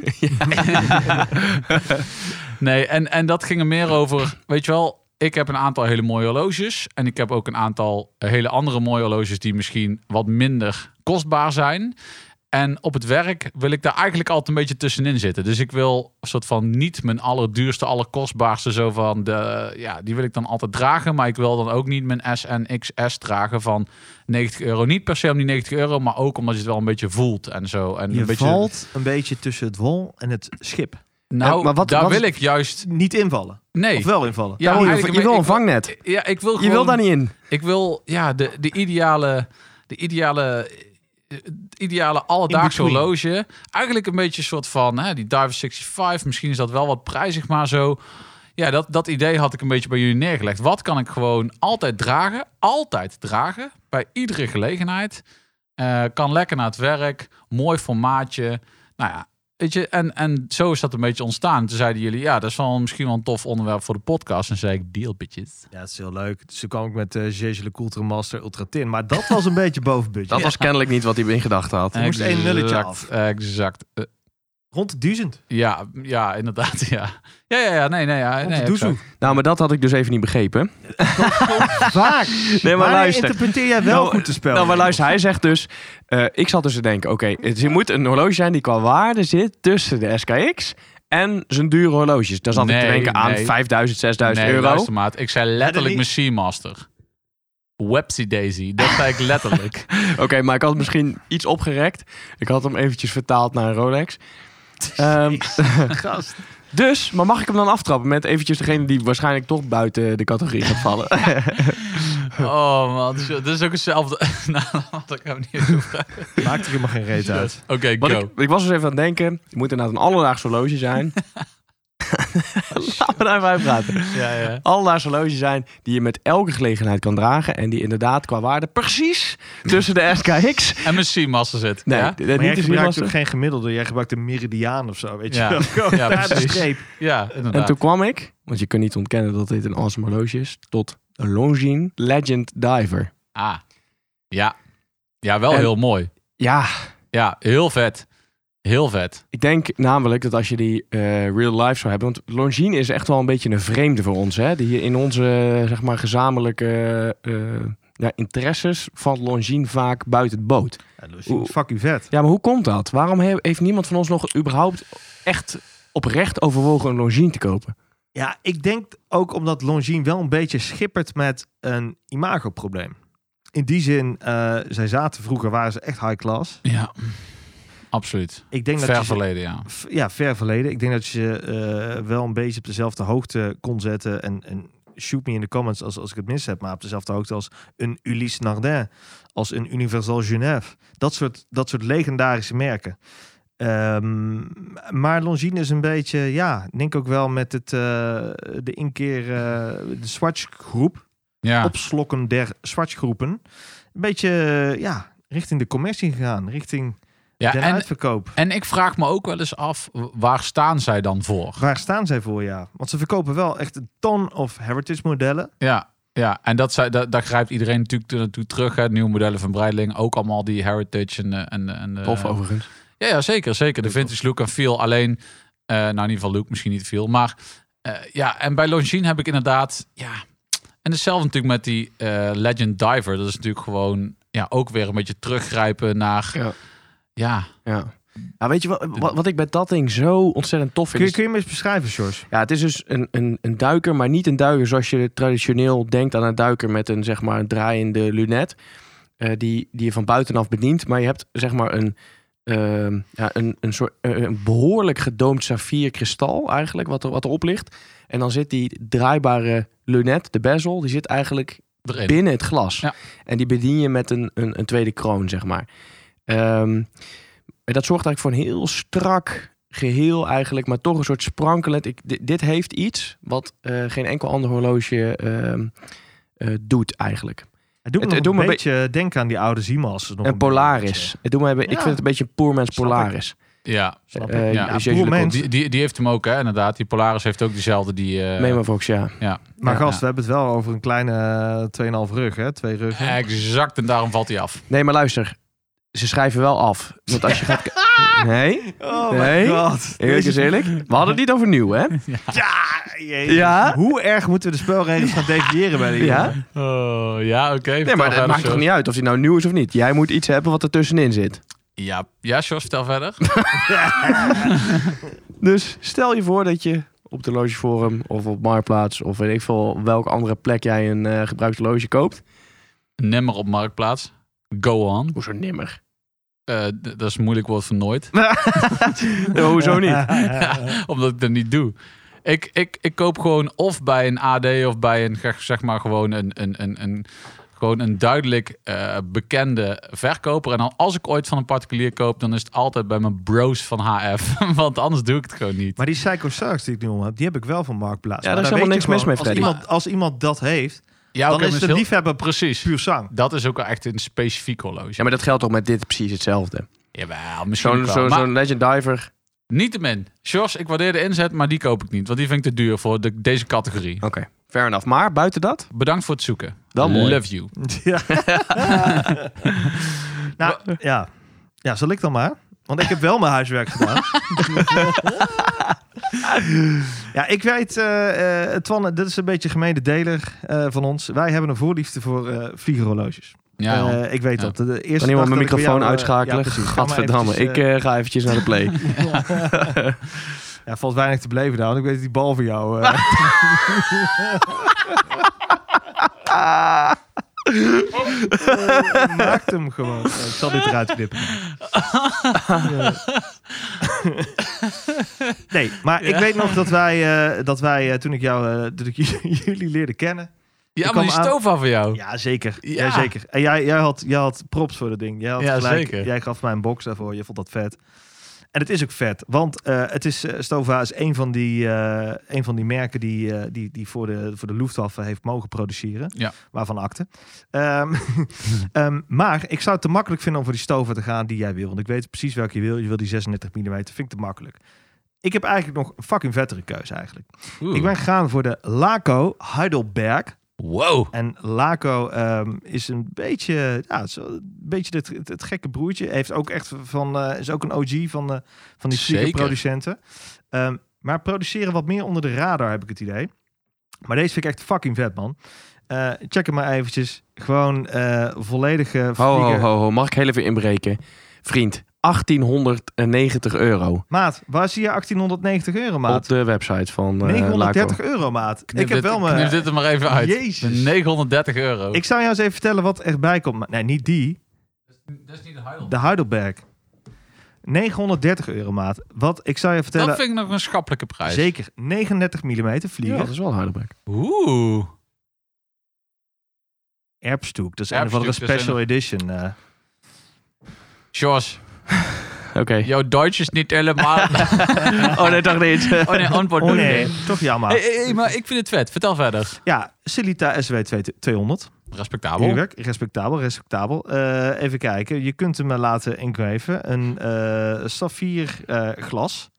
Nee, en, en dat ging er meer over. Weet je wel, ik heb een aantal hele mooie horloges. En ik heb ook een aantal hele andere mooie horloges die misschien wat minder kostbaar zijn. En op het werk wil ik daar eigenlijk altijd een beetje tussenin zitten. Dus ik wil een soort van niet mijn allerduurste, allerkostbaarste zo van de ja, die wil ik dan altijd dragen, maar ik wil dan ook niet mijn S en XS dragen van 90 euro. Niet per se om die 90 euro, maar ook omdat je het wel een beetje voelt en zo. En <laughs>
Je
een beetje,
valt een beetje tussen het wol en het schip.
Nou,
Ja, Eh, maar wat-
daar
wat is-
wil ik juist
Niet invallen.
nee.
Of wel invallen.
Ja,
Oh, je,
eigenlijk-
je wil
ik-
een vangnet.
Ja, ik wil
Je
gewoon...
wil daar niet in.
Ik wil, ja, de, de ideale... De ideale... het ideale alledaagse
In between.
horloge. Eigenlijk een beetje een soort van... Hè, die Diver 65, misschien is dat wel wat prijzig, maar zo... Ja, dat, dat idee had ik een beetje bij jullie neergelegd. Wat kan ik gewoon altijd dragen? Altijd dragen. Bij iedere gelegenheid. Eh, kan lekker naar het werk. Mooi formaatje. Nou ja, weet je. En, en zo is dat een beetje ontstaan. Toen zeiden jullie, ja, dat is wel misschien wel een tof onderwerp voor de podcast. En zei ik, deal bitches.
Ja, dat is heel leuk. Dus toen kwam ik met eh Jeje Le Coultre Master Ultra Tin. Maar dat was een <laughs> beetje boven budget.
Dat was kennelijk niet wat hij in gedachten had.
moest één nulletje
Exact,
af.
Exact. Eh,
Rond de duizend.
ja, ja, inderdaad. <laughs> Ja, ja, ja, ja nee, nee. Ja,
Rond
nee
de doezoe.
exact.
Nou, maar dat had ik dus even niet begrepen.
Vaak.
Nee,
Wanneer
maar luister.
interpreteer jij wel
Nou,
goed te spel?
Nou, maar luister, hij zegt dus... eh, ik zat dus te denken, oké, het is- er moet een horloge zijn die qua waarde zit tussen de SKX en zijn dure horloges. Daar zat ik te
Nee,
denken aan
nee.
5000, 6000
nee,
euro.
luister maat. Ik zei letterlijk
die-
Machine Master. Websy Daisy. Dat zei ik
<laughs>
letterlijk.
Oké, maar ik had misschien iets opgerekt. Ik had hem eventjes vertaald naar een
<laughs>
Rolex. Ehm,
Gast.
dus, maar mag ik hem dan aftrappen met eventjes degene die waarschijnlijk toch buiten de categorie gaat
<laughs>
vallen?
Oh man, dit is ook hetzelfde. <laughs> nou, dat kan ik niet over.
Maakt er helemaal geen reet uit.
Oké,
Wat
go.
ik, ik was dus even aan het denken, het moet inderdaad een alledaags
<laughs>
horloge zijn. Laten we daar even uitpraten.
Ja, ja.
Alledaags horloge zijn die je met elke gelegenheid kan dragen. En die inderdaad qua waarde precies tussen de SKX.
En Machine Master zit.
Nee,
ja?
dit- dit
Maar jij
niet is hier
gebruikt
was.
ook geen gemiddelde. Jij gebruikt een meridiaan of zo, weet je
Ja.
wel.
<laughs>
Gewoon
Ja,
daar de
precies.
streep.
Ja, inderdaad.
En toen kwam ik, want je kunt niet ontkennen dat dit een awesome horloge is, tot een Longines Legend Diver.
Ah. Ja. Ja, wel
En-
heel mooi.
Ja,
Ja, heel vet. Heel vet.
ik denk namelijk dat als je die eh, real life zou hebben, want Longines is echt wel een beetje een vreemde voor ons, hè? Die in onze eh, zeg maar gezamenlijke eh, eh, ja, interesses valt Longines vaak buiten het boot.
Ja, Lucien, fuck u vet.
Ja, maar hoe komt dat? Waarom he- heeft niemand van ons nog überhaupt echt oprecht overwogen een Longines te kopen?
Ja, ik denk ook omdat Longines wel een beetje schippert met een imagoprobleem. In die zin, eh, zij zaten vroeger, waren ze echt high class.
Ja. Absoluut.
Ik denk dat
Ver
je ze-
verleden, ja.
v- ja, ver verleden. Ik denk dat je ze, eh, wel een beetje op dezelfde hoogte kon zetten. En, en shoot me in de comments als, als ik het mis heb. Maar op dezelfde hoogte als een Ulysse Nardin. Als een Universal Genève. Dat soort, dat soort legendarische merken. Ehm, maar Longines is een beetje, ja, ik denk ook wel met het, eh, de inkeer, eh, de Swatch groep
Ja.
opslokken der zwartgroepen. Een beetje eh, ja, richting de commercie gegaan, richting
ja
de
en,
uitverkoop.
en ik vraag me ook wel eens af, w- waar staan zij dan voor?
Waar staan zij voor, ja? Want ze verkopen wel echt een ton of heritage modellen.
Ja, ja. en dat, zij, dat, daar grijpt iedereen natuurlijk naartoe terug. Hè. Nieuwe modellen van Breitling, ook allemaal die heritage en... eh, en, en eh,
Tof overigens.
Ja, ja, zeker, zeker. De vintage look en feel. Alleen, eh, nou in ieder geval look misschien niet veel. Maar eh, ja, en bij Longines heb ik inderdaad, ja. En hetzelfde natuurlijk met die eh, Legend Diver. Dat is natuurlijk gewoon, ja, ook weer een beetje teruggrijpen naar,
Ja.
ja.
Ja. ja, weet je wat, wat, wat ik bij dat ding zo ontzettend tof vind?
Kun je,
is-
kun je hem eens beschrijven, George?
Ja, het is dus een, een, een duiker, maar niet een duiker zoals je traditioneel denkt aan een duiker met een zeg maar een draaiende lunet. eh, die, die je van buitenaf bedient. Maar je hebt zeg maar een, ehm, ja, een, een soort eh, een behoorlijk gedoomd saffierkristal eigenlijk, wat, er, wat erop ligt. En dan zit die draaibare lunet, de bezel, die zit eigenlijk
erin.
binnen het glas.
Ja.
En die bedien je met een, een, een tweede kroon, zeg maar. Ehm, en dat zorgt eigenlijk voor een heel strak geheel eigenlijk, maar toch een soort sprankelend. Ik, di- dit heeft iets wat eh, geen enkel ander horloge ehm, eh, doet eigenlijk.
Het doet me,
Het- het
nog
doet me
een
een
beetje denken aan die oude Zimas. Nog
en
een
Polaris.
beetje.
Het doet me hebben, Ik
Ja.
vind het een beetje een poor man's
Snap ik.
Polaris.
Ja,
Snap ik.
Eh,
Ja,
dus
poor
jullie-
man.
die, die, die heeft hem ook, hè, inderdaad. Die Polaris heeft ook diezelfde, die... eh,
Memo Fox, ja.
ja,
maar
ja,
gast,
ja.
we hebben het wel over een kleine eh, 2,5 rug, hè? Twee ruggen.
Exact, en daarom valt hij af.
Nee, maar luister. Ze schrijven wel af. Want als je gaat... ki- Nee,
Oh
Nee.
god.
eerlijk is eerlijk. We hadden het niet over nieuw, hè?
Ja, jezus.
Ja?
Hoe erg moeten we de spelregels gaan definiëren bij de
Ja?
Oh, ja, oké.
Nee,
vertel
maar het
verder,
maakt toch
Sjors.
niet uit of die nou nieuw is of niet. Jij moet iets hebben wat er tussenin zit.
Ja, ja, Sjors, vertel <laughs> verder.
Dus stel je voor dat je op de logeforum of op Marktplaats of weet ik veel welke andere plek jij een eh gebruikt loge koopt.
Nimmer op Marktplaats. Go on.
Hoezo nimmer?
Eh, d- dat is een moeilijk woord voor nooit.
Nee, hoezo niet?
<laughs> Omdat ik dat niet doe. Ik, ik, ik koop gewoon of bij een AD of bij een, zeg- zeg maar, gewoon een, een, een, een, gewoon een duidelijk eh, bekende verkoper. En dan als ik ooit van een particulier koop, dan is het altijd bij mijn bros van HF. <laughs> Want anders doe ik het gewoon niet.
<laughs> Maar die Psycho Sargs die ik nu om heb, die heb ik wel van Marktplaats.
Ja,
Maar
daar is
dan
helemaal
weet je
niks mis
gewoon,
mee,
als
Freddy.
iemand, als iemand dat heeft,
Ja,
dan
oké,
is
maar
het een
heel-
liefhebber
Precies.
puur zang.
Dat is ook wel echt een specifiek horloge.
Ja, maar dat geldt toch met dit precies hetzelfde.
Jawel, misschien
Zo'n
wel.
zo,
Maar
zo'n Legend Diver.
niettemin, Sjors, ik waardeer de inzet, maar die koop ik niet. Want die vind ik te duur voor de- deze categorie.
Oké, fair enough. Maar buiten dat?
Bedankt voor het zoeken.
Wel mooi.
Love you.
Ja. nou, ja. Ja, zal ik dan maar? Want ik heb wel mijn huiswerk gedaan. ja, ik weet, eh eh Twan, dit is een beetje gemene deler eh, van ons. Wij hebben een voorliefde voor eh vliegerhorloges.
Ja, joh.
Eh, ik weet
Ja.
dat. De- De eerste
Kan iemand
dag
mijn
dat ik bij
microfoon
jou, eh,
uitschakelen? eh,
ja, precies. Ga maar
<laughs> Gadverdamme,
eventjes,
ik
eh,
eh, ga eventjes naar de play.
Ja, valt weinig te beleven daar, want ik weet dat die bal voor jou... <laughs> eh, eh, maakt hem gewoon. Eh, Ik zal dit eruit knippen. Ja. nee, maar ik weet nog dat wij, eh, dat wij eh, toen ik jou, eh, toen ik <laughs> jullie leerde kennen...
Ja,
Ik
maar die
kwam aan-
stofa van jou.
Ja, zeker.
Ja.
Ja. zeker. En jij, jij, had, jij had props voor dat ding. Jij, had
Ja,
gelijk,
zeker.
jij gaf mij een box daarvoor. Je vond dat vet. En het is ook vet. Want eh, het is, eh, Stova is een van die, eh, een van die merken die, eh, die, die voor, de, voor de Luftwaffe heeft mogen produceren.
Ja.
Waarvan akte. Ehm, <laughs> ehm, maar ik zou het te makkelijk vinden om voor die Stova te gaan die jij wil. Want ik weet precies welke je wil. Je wil die 36 mm. Vind ik te makkelijk. Ik heb eigenlijk nog een fucking vettere keuze eigenlijk.
Oeh.
Ik ben gegaan voor de Laco Heidelberg.
Wow.
En Laco ehm, is een beetje, ja, het is wel een beetje het, het, het gekke broertje. Hij Heeft ook echt van, eh, is ook een OG van, eh, van die
Zeker.
sneakerproducenten. Ehm maar produceren wat meer onder de radar, heb ik het idee. Maar deze vind ik echt fucking vet, man. Eh, check hem maar eventjes. Gewoon eh volledige
Ho, ho,
vlieger.
ho, ho. Mag ik heel even inbreken? Vriend, 1890 euro
Maat, waar zie je 1890 euro,
op
maat?
de website van eh
930
Laco.
euro, maat.
Knip
ik heb
dit-
wel mijn...
knip dit er maar even uit.
Jezus.
930 euro.
Ik zou jou eens even vertellen wat erbij komt. Maar- Nee, niet die.
Dat is niet de huil.
De Heidelberg. 930 euro maat. Wat ik zou je vertellen.
Dat vind ik nog een schappelijke prijs.
zeker 39 mm
Ja,
vlieger.
dat is wel Heidelberg.
Oeh.
Erbstoek. Dat is een of andere
Erbstoek, dat
special edition. eh.
Jos,
Oké.
jouw Duits is niet
<laughs>
helemaal...
<laughs> Oh nee, toch niet.
Oh nee, Eh, antwoord
Oh
doen.
nee, toch jammer.
Hey, hey, hey, maar ik vind het vet. Vertel verder.
Ja, Silita SW200.
Respectabel.
Uurwerk, respectabel, respectabel. Eh, even kijken, je kunt hem eh, laten inkweven. Een eh saffier eh, glas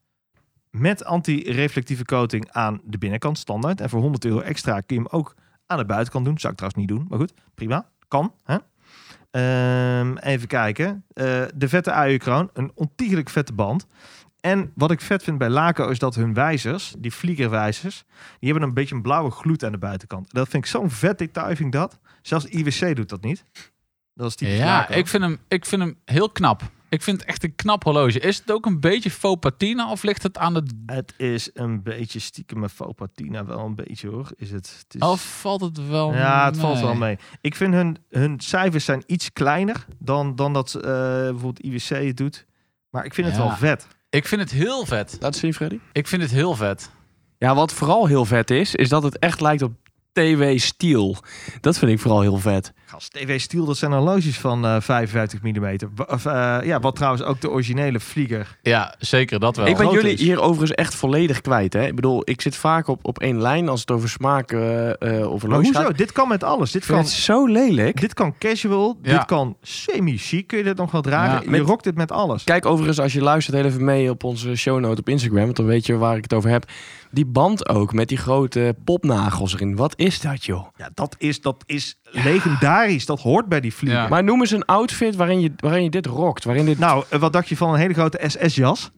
met anti-reflectieve coating aan de binnenkant, standaard. En voor 100 euro extra kun je hem ook aan de buitenkant doen. Zou ik trouwens niet doen, maar goed, prima. Kan, hè? Ehm, even kijken. Eh, de vette AU-kroon, een ontiegelijk vette band. En wat ik vet vind bij Laco is dat hun wijzers, die vliegerwijzers, die hebben een beetje een blauwe gloed aan de buitenkant. Dat vind ik zo'n vet detail, vind ik dat. Zelfs IWC doet dat niet. Dat is typisch
Ja,
Laco.
ik vind, hem, ik vind hem heel knap. Ik vind het echt een knap horloge. Is het ook een beetje faux patina of ligt het aan de...
Het is een beetje stiekem een faux patina wel een beetje hoor. Is het, het is...
Of valt het wel
Ja, het valt
mee?
wel mee. Ik vind hun, hun cijfers zijn iets kleiner dan, dan dat eh, bijvoorbeeld IWC het doet. Maar ik vind het
Ja.
wel vet.
Ik vind het heel vet.
Laat zien, Freddy.
Ik vind het heel vet.
Ja, wat vooral heel vet is, is dat het echt lijkt op TW Steel. Dat vind ik vooral heel vet.
Gast, TV Steel, dat zijn horloges van eh, 55 mm. Of, eh, ja, wat trouwens ook de originele Vlieger.
Ja, zeker dat wel.
ik ben
groot
jullie
is.
hier overigens echt volledig kwijt. Hè? Ik bedoel, ik zit vaak op, op één lijn als het over smaak eh, eh, of
Maar
horloge
hoezo?
gaat.
Dit kan met alles. Dit
Ik vind
kan,
het zo lelijk.
dit kan casual,
Ja.
dit kan semi-chic. Kun je dit nog wel dragen?
Ja.
Je
Met-
rokt dit met alles.
Kijk overigens, als je luistert, heel even mee op onze shownote op Instagram. Want dan weet je waar ik het over heb. Die band ook met die grote popnagels erin. Wat is dat, joh?
Ja, dat is, dat is legendarisch. Dat hoort bij die Vlieger.
Ja.
Maar noem eens een outfit waarin je, waarin je dit rockt. Waarin dit...
Nou, eh, wat dacht je van een hele grote SS-jas?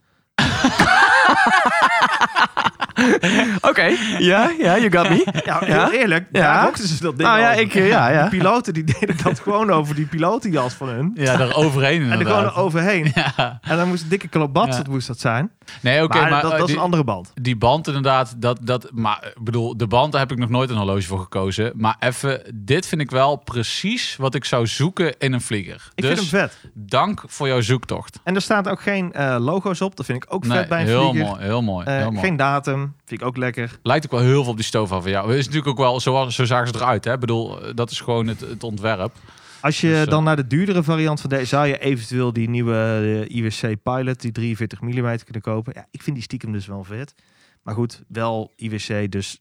Oké, ja, ja, you got me.
Ja, Nou, heel
Ja?
eerlijk,
Ja?
daar rokten ze dat ding
Ah,
Nou ja,
over.
ik, eh, ja, ja.
Die piloten die <laughs> deden dat gewoon over die pilotenjas van hun.
Ja, daar overheen
<laughs> En er
inderdaad.
gewoon overheen.
Ja.
En dan moest een dikke klobats,
Ja.
dat moest dat zijn.
Nee, oké,
maar
maar,
dat,
eh,
dat
die,
is een andere band.
die band inderdaad, dat, dat, maar eh, ik bedoel, de band, daar heb ik nog nooit een horloge voor gekozen. Maar even, dit vind ik wel precies wat ik zou zoeken in een vlieger.
Ik
dus
vind hem vet.
dank voor jouw zoektocht.
En er staan ook geen eh, logo's op. Dat vind ik ook
Nee,
vet bij een
heel
vlieger.
mooi, heel mooi,
Eh,
heel mooi.
geen datum. Vind ik ook lekker.
Lijkt ook wel heel veel op die stofa van jou. Is natuurlijk ook wel, zo, zo zagen ze eruit. Hè? Ik bedoel, eh, dat is gewoon het, het ontwerp.
Als je
Dus, eh,
dan naar de duurdere variant van deze... zou je eventueel die nieuwe eh, IWC Pilot, die 43 mm, kunnen kopen. Ja, ik vind die stiekem dus wel vet. Maar goed, wel IWC, dus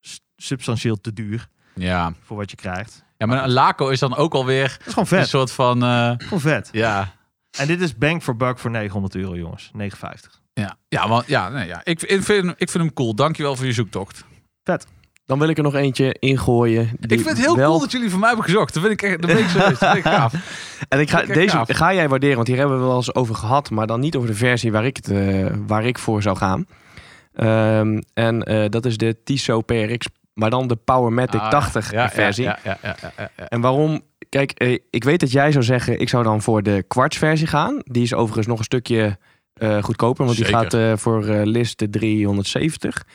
s- substantieel te duur
Ja.
voor wat je krijgt.
ja, maar een Laco is dan ook alweer
Dat is gewoon
een
vet.
soort van, eh,
Gewoon vet.
ja...
En dit is bang for buck voor 900 euro, jongens. 9,50.
Ja, ja, want, ja, nee, ja. Ik, ik, vind, ik vind hem cool. Dankjewel voor je zoektocht.
<laughs> Dan wil ik er nog eentje ingooien. die
ik vind het heel
wel-
cool dat jullie voor mij hebben gezocht. Dat vind ik echt dat vind ik zo dat vind ik
<laughs>
gaaf.
En ik ga,
Kijk,
deze
gaaf.
ga jij waarderen, want hier hebben we wel eens over gehad. Maar dan niet over de versie waar ik, het, eh, waar ik voor zou gaan. Ehm, en eh, dat is de Tissot PRX, maar dan de Powermatic
Ah, ja.
80
Ja,
versie.
Ja, ja, ja, ja, ja, ja.
En waarom? Kijk, eh, ik weet dat jij zou zeggen, ik zou dan voor de kwartsversie gaan. Die is overigens nog een stukje eh, goedkoper. Want die
Zeker.
gaat eh, voor eh, list de 370.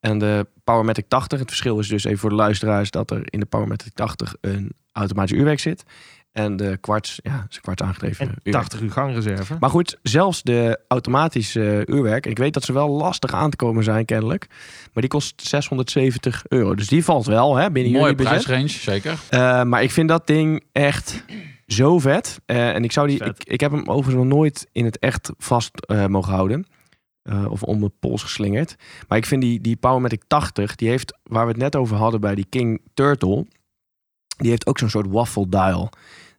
En de Powermatic 80. Het verschil is dus even voor de luisteraars dat er in de Powermatic 80 een automatisch uurwerk zit. En de kwarts, ja, is een kwarts aangedreven
En
uurwerk.
80 uur gangreserve.
Maar goed, zelfs de automatische eh, uurwerk. Ik weet dat ze wel lastig aan te komen zijn, kennelijk. Maar die kost 670 euro. Dus die valt wel hè, binnen
Mooie
jullie budget.
prijsrange, zeker.
Eh, maar ik vind dat ding echt zo vet. Eh, en ik zou die.
Vet.
Ik, ik heb hem overigens nog nooit in het echt vast eh, mogen houden. Eh, of om mijn pols geslingerd. Maar ik vind die, die Powermatic 80, die heeft, waar we het net over hadden bij die King Turtle. Die heeft ook zo'n soort waffle dial.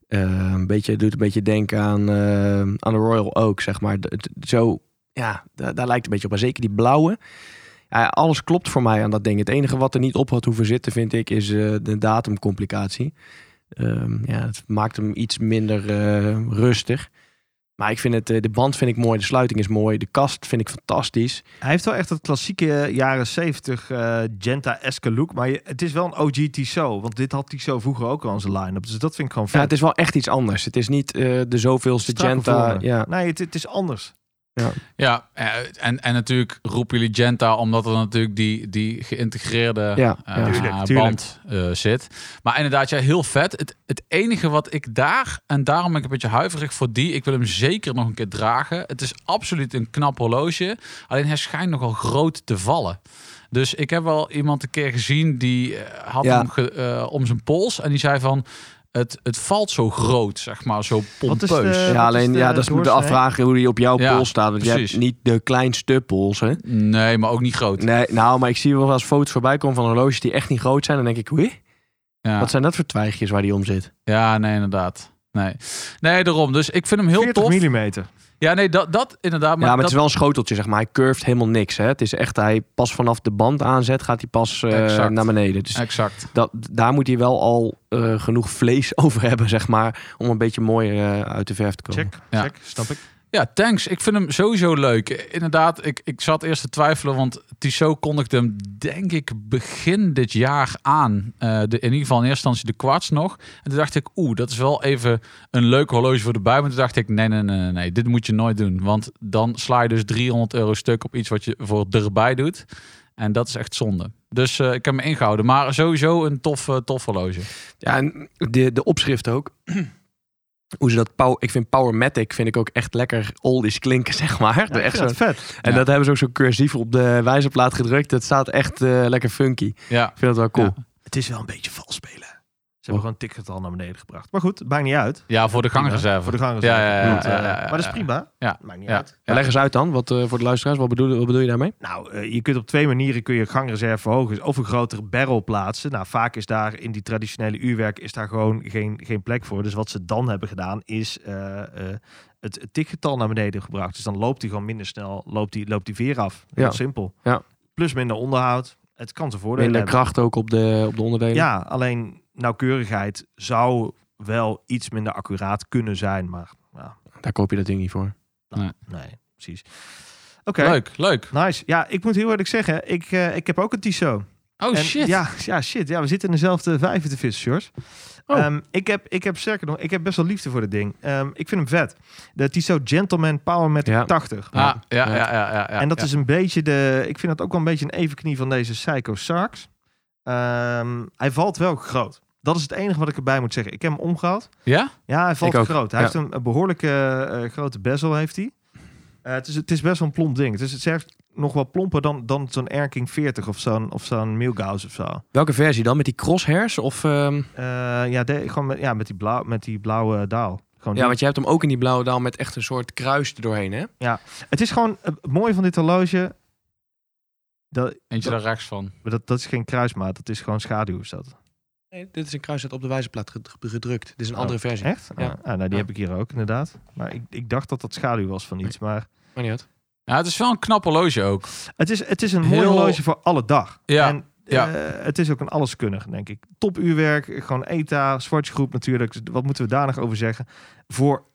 Eh, een beetje, doet een beetje denken aan, eh, aan de Royal Oak, zeg maar. D- d- zo, ja, da- daar lijkt het een beetje op. Maar zeker die blauwe. Ja, alles klopt voor mij aan dat ding. Het enige wat er niet op had hoeven zitten, vind ik, is eh, de datumcomplicatie. Ehm, ja, het maakt hem iets minder eh, rustig. Maar ik vind het, eh, de band vind ik mooi, de sluiting is mooi, de kast vind ik fantastisch.
Hij heeft wel echt dat klassieke eh, jaren 70 eh Genta-esque look. Maar je- het is wel een OG Tissot. Want dit had Tissot vroeger ook al in zijn line-up. Dus dat vind ik gewoon
Ja,
vet.
het is wel echt iets anders. Het is niet eh, de zoveelste
Strakke
Genta.
vormen.
Ja.
Nee, het, het is anders.
Ja, eh, en, en natuurlijk roepen jullie Genta omdat er natuurlijk die, die geïntegreerde
Ja,
eh,
ja.
Tuurlijk, tuurlijk.
band eh, zit. Maar inderdaad, ja, heel vet. Het, het enige wat ik daar, en daarom ben ik een beetje huiverig voor die, ik wil hem zeker nog een keer dragen. Het is absoluut een knap horloge, alleen hij schijnt nogal groot te vallen. Dus ik heb wel iemand een keer gezien die eh, had
Ja.
hem ge- eh, om zijn pols en die zei van... Het, het valt zo groot, zeg maar, zo
Wat is
pompeus.
de-
Ja,
Eh, wat
alleen
is
ja,
de
dat is me de
doorsnee?
afvragen hoe die op jouw
Ja,
pols staat. Want je hebt
precies.
niet de kleinste pols, hè?
Nee, maar ook niet groot.
Nee, nou, maar ik zie wel eens foto's voorbij komen van horloges die echt niet groot zijn. Dan denk ik, oei,
Ja.
wat zijn dat voor twijgjes waar die om zit?
Ja, nee, inderdaad. Nee. nee, daarom. Dus ik vind hem heel
40
tof.
millimeter.
Ja, nee, dat, dat inderdaad. Maar,
ja, maar
dat,
het is wel een schoteltje, zeg maar. Hij curved helemaal niks. Hè? Het is echt, hij pas vanaf de band aanzet, gaat hij pas eh,
Exact.
naar beneden. Dus
Exact.
dat, daar moet hij wel al eh, genoeg vlees <laughs> over hebben, zeg maar. Om een beetje mooier eh, uit de verf te komen.
Check,
Ja.
check, snap ik.
Ja, thanks. Ik vind hem sowieso leuk. Inderdaad, ik, ik zat eerst te twijfelen, want Tissot kondigde hem denk ik begin dit jaar aan. Eh, de, in ieder geval in eerste instantie de kwarts nog. En toen dacht ik, oeh, dat is wel even een leuk horloge voor de bui. Maar toen dacht ik, nee, nee, nee, nee, nee, dit moet je nooit doen. Want dan sla je dus 300 euro stuk op iets wat je voor erbij doet. En dat is echt zonde. Dus eh, ik heb me ingehouden. Maar sowieso een tof, eh, tof horloge.
Ja, en de, de opschrift ook. <clears throat> Hoe ze dat power, ik vind Powermatic vind ik ook echt lekker oldies klinken, <laughs> zeg maar.
Ja, ik
echt
vind
zo,
dat vet.
en
Ja.
dat hebben ze ook zo cursief op de wijzerplaat gedrukt. Dat staat echt eh, lekker funky. Ik
Ja.
vind dat wel cool.
Ja.
Het is wel een beetje vals spelen. Ze
Oh.
hebben gewoon een tikgetal naar beneden gebracht. Maar goed, maakt niet uit.
Ja, voor de gangreserve.
Voor de gangreserve.
Ja, ja, ja,
Want, eh,
ja, ja, ja,
Maar dat is
ja.
prima.
Ja.
Maakt niet
Ja.
uit.
Maar Leg eens uit dan, wat, eh, voor de luisteraars. Wat bedoel, wat bedoel je daarmee?
Nou, eh, je kunt op twee manieren kun je gangreserve verhogen. Of een grotere barrel plaatsen. Nou, vaak is daar in die traditionele uurwerk is daar gewoon geen, geen plek voor. Dus wat ze dan hebben gedaan is eh, eh, het, het tikgetal naar beneden gebracht. Dus dan loopt die gewoon minder snel, loopt die, loopt die veer af. Heel
Ja.
simpel.
Ja.
Plus minder onderhoud. Het kan zijn voordelen
Minder
hebben.
kracht ook op de, op de onderdelen.
Ja, alleen nauwkeurigheid zou wel iets minder accuraat kunnen zijn. Maar ja,
Daar koop je dat ding niet voor.
nee, precies. Oké.
Leuk, leuk.
Nice. Ja, ik moet heel eerlijk zeggen, ik, eh, ik heb ook een Tissot.
Oh
En
shit.
Ja, ja, shit. Ja, we zitten in dezelfde vijver te vissen, George.
Oh.
Ehm, ik, heb, ik heb sterker nog, ik heb best wel liefde voor dit ding. Ehm, ik vind hem vet. De Tissot Gentleman Power met
Ja.
80.
Ah, ja, ja, ja, ja, ja,
en dat
ja.
is een beetje de... Ik vind dat ook wel een beetje een evenknie van deze Psycho Sarks. Ehm, hij valt wel groot. Dat is het enige wat ik erbij moet zeggen. Ik heb hem omgehaald.
Ja?
Ja, hij valt
Ik ook,
groot. Hij
ja.
heeft een, een behoorlijke eh, grote bezel, heeft hij. Eh, het, is, het is best wel een plomp ding. Het is, het is echt nog wel plomper dan, dan zo'n Erking 40 of zo'n, of zo'n Milgauss of zo.
Welke versie dan? Met die crosshairs? Of, ehm,
Eh, ja, de- gewoon met, ja, met, die blauw, met die blauwe daal. Gewoon
Ja,
die-
want je hebt hem ook in die blauwe daal met echt een soort kruis erdoorheen, hè?
Het is gewoon eh, het mooie van dit horloge. Dat,
Eentje daar rechts van.
maar dat, dat is geen kruismaat, dat is gewoon schaduw. Is dat.
Nee, dit is een kruis dat op de wijzerplaat ged- gedrukt. Dit is een
Oh,
andere versie.
Echt?
Ja.
Ah, nou, die
Ja.
heb ik hier ook inderdaad. Maar ik, ik dacht dat dat schaduw was van iets. Maar
Maar niet uit.
Ja, het is wel een knap horloge ook.
het is, het is een mooi
Heel-
horloge voor alle dag.
Ja,
En,
ja.
eh, het is ook een alleskundige, denk ik. Top uurwerk, gewoon ETA, Swatch Groep natuurlijk. Dus Wat moeten we daar nog over zeggen? Voor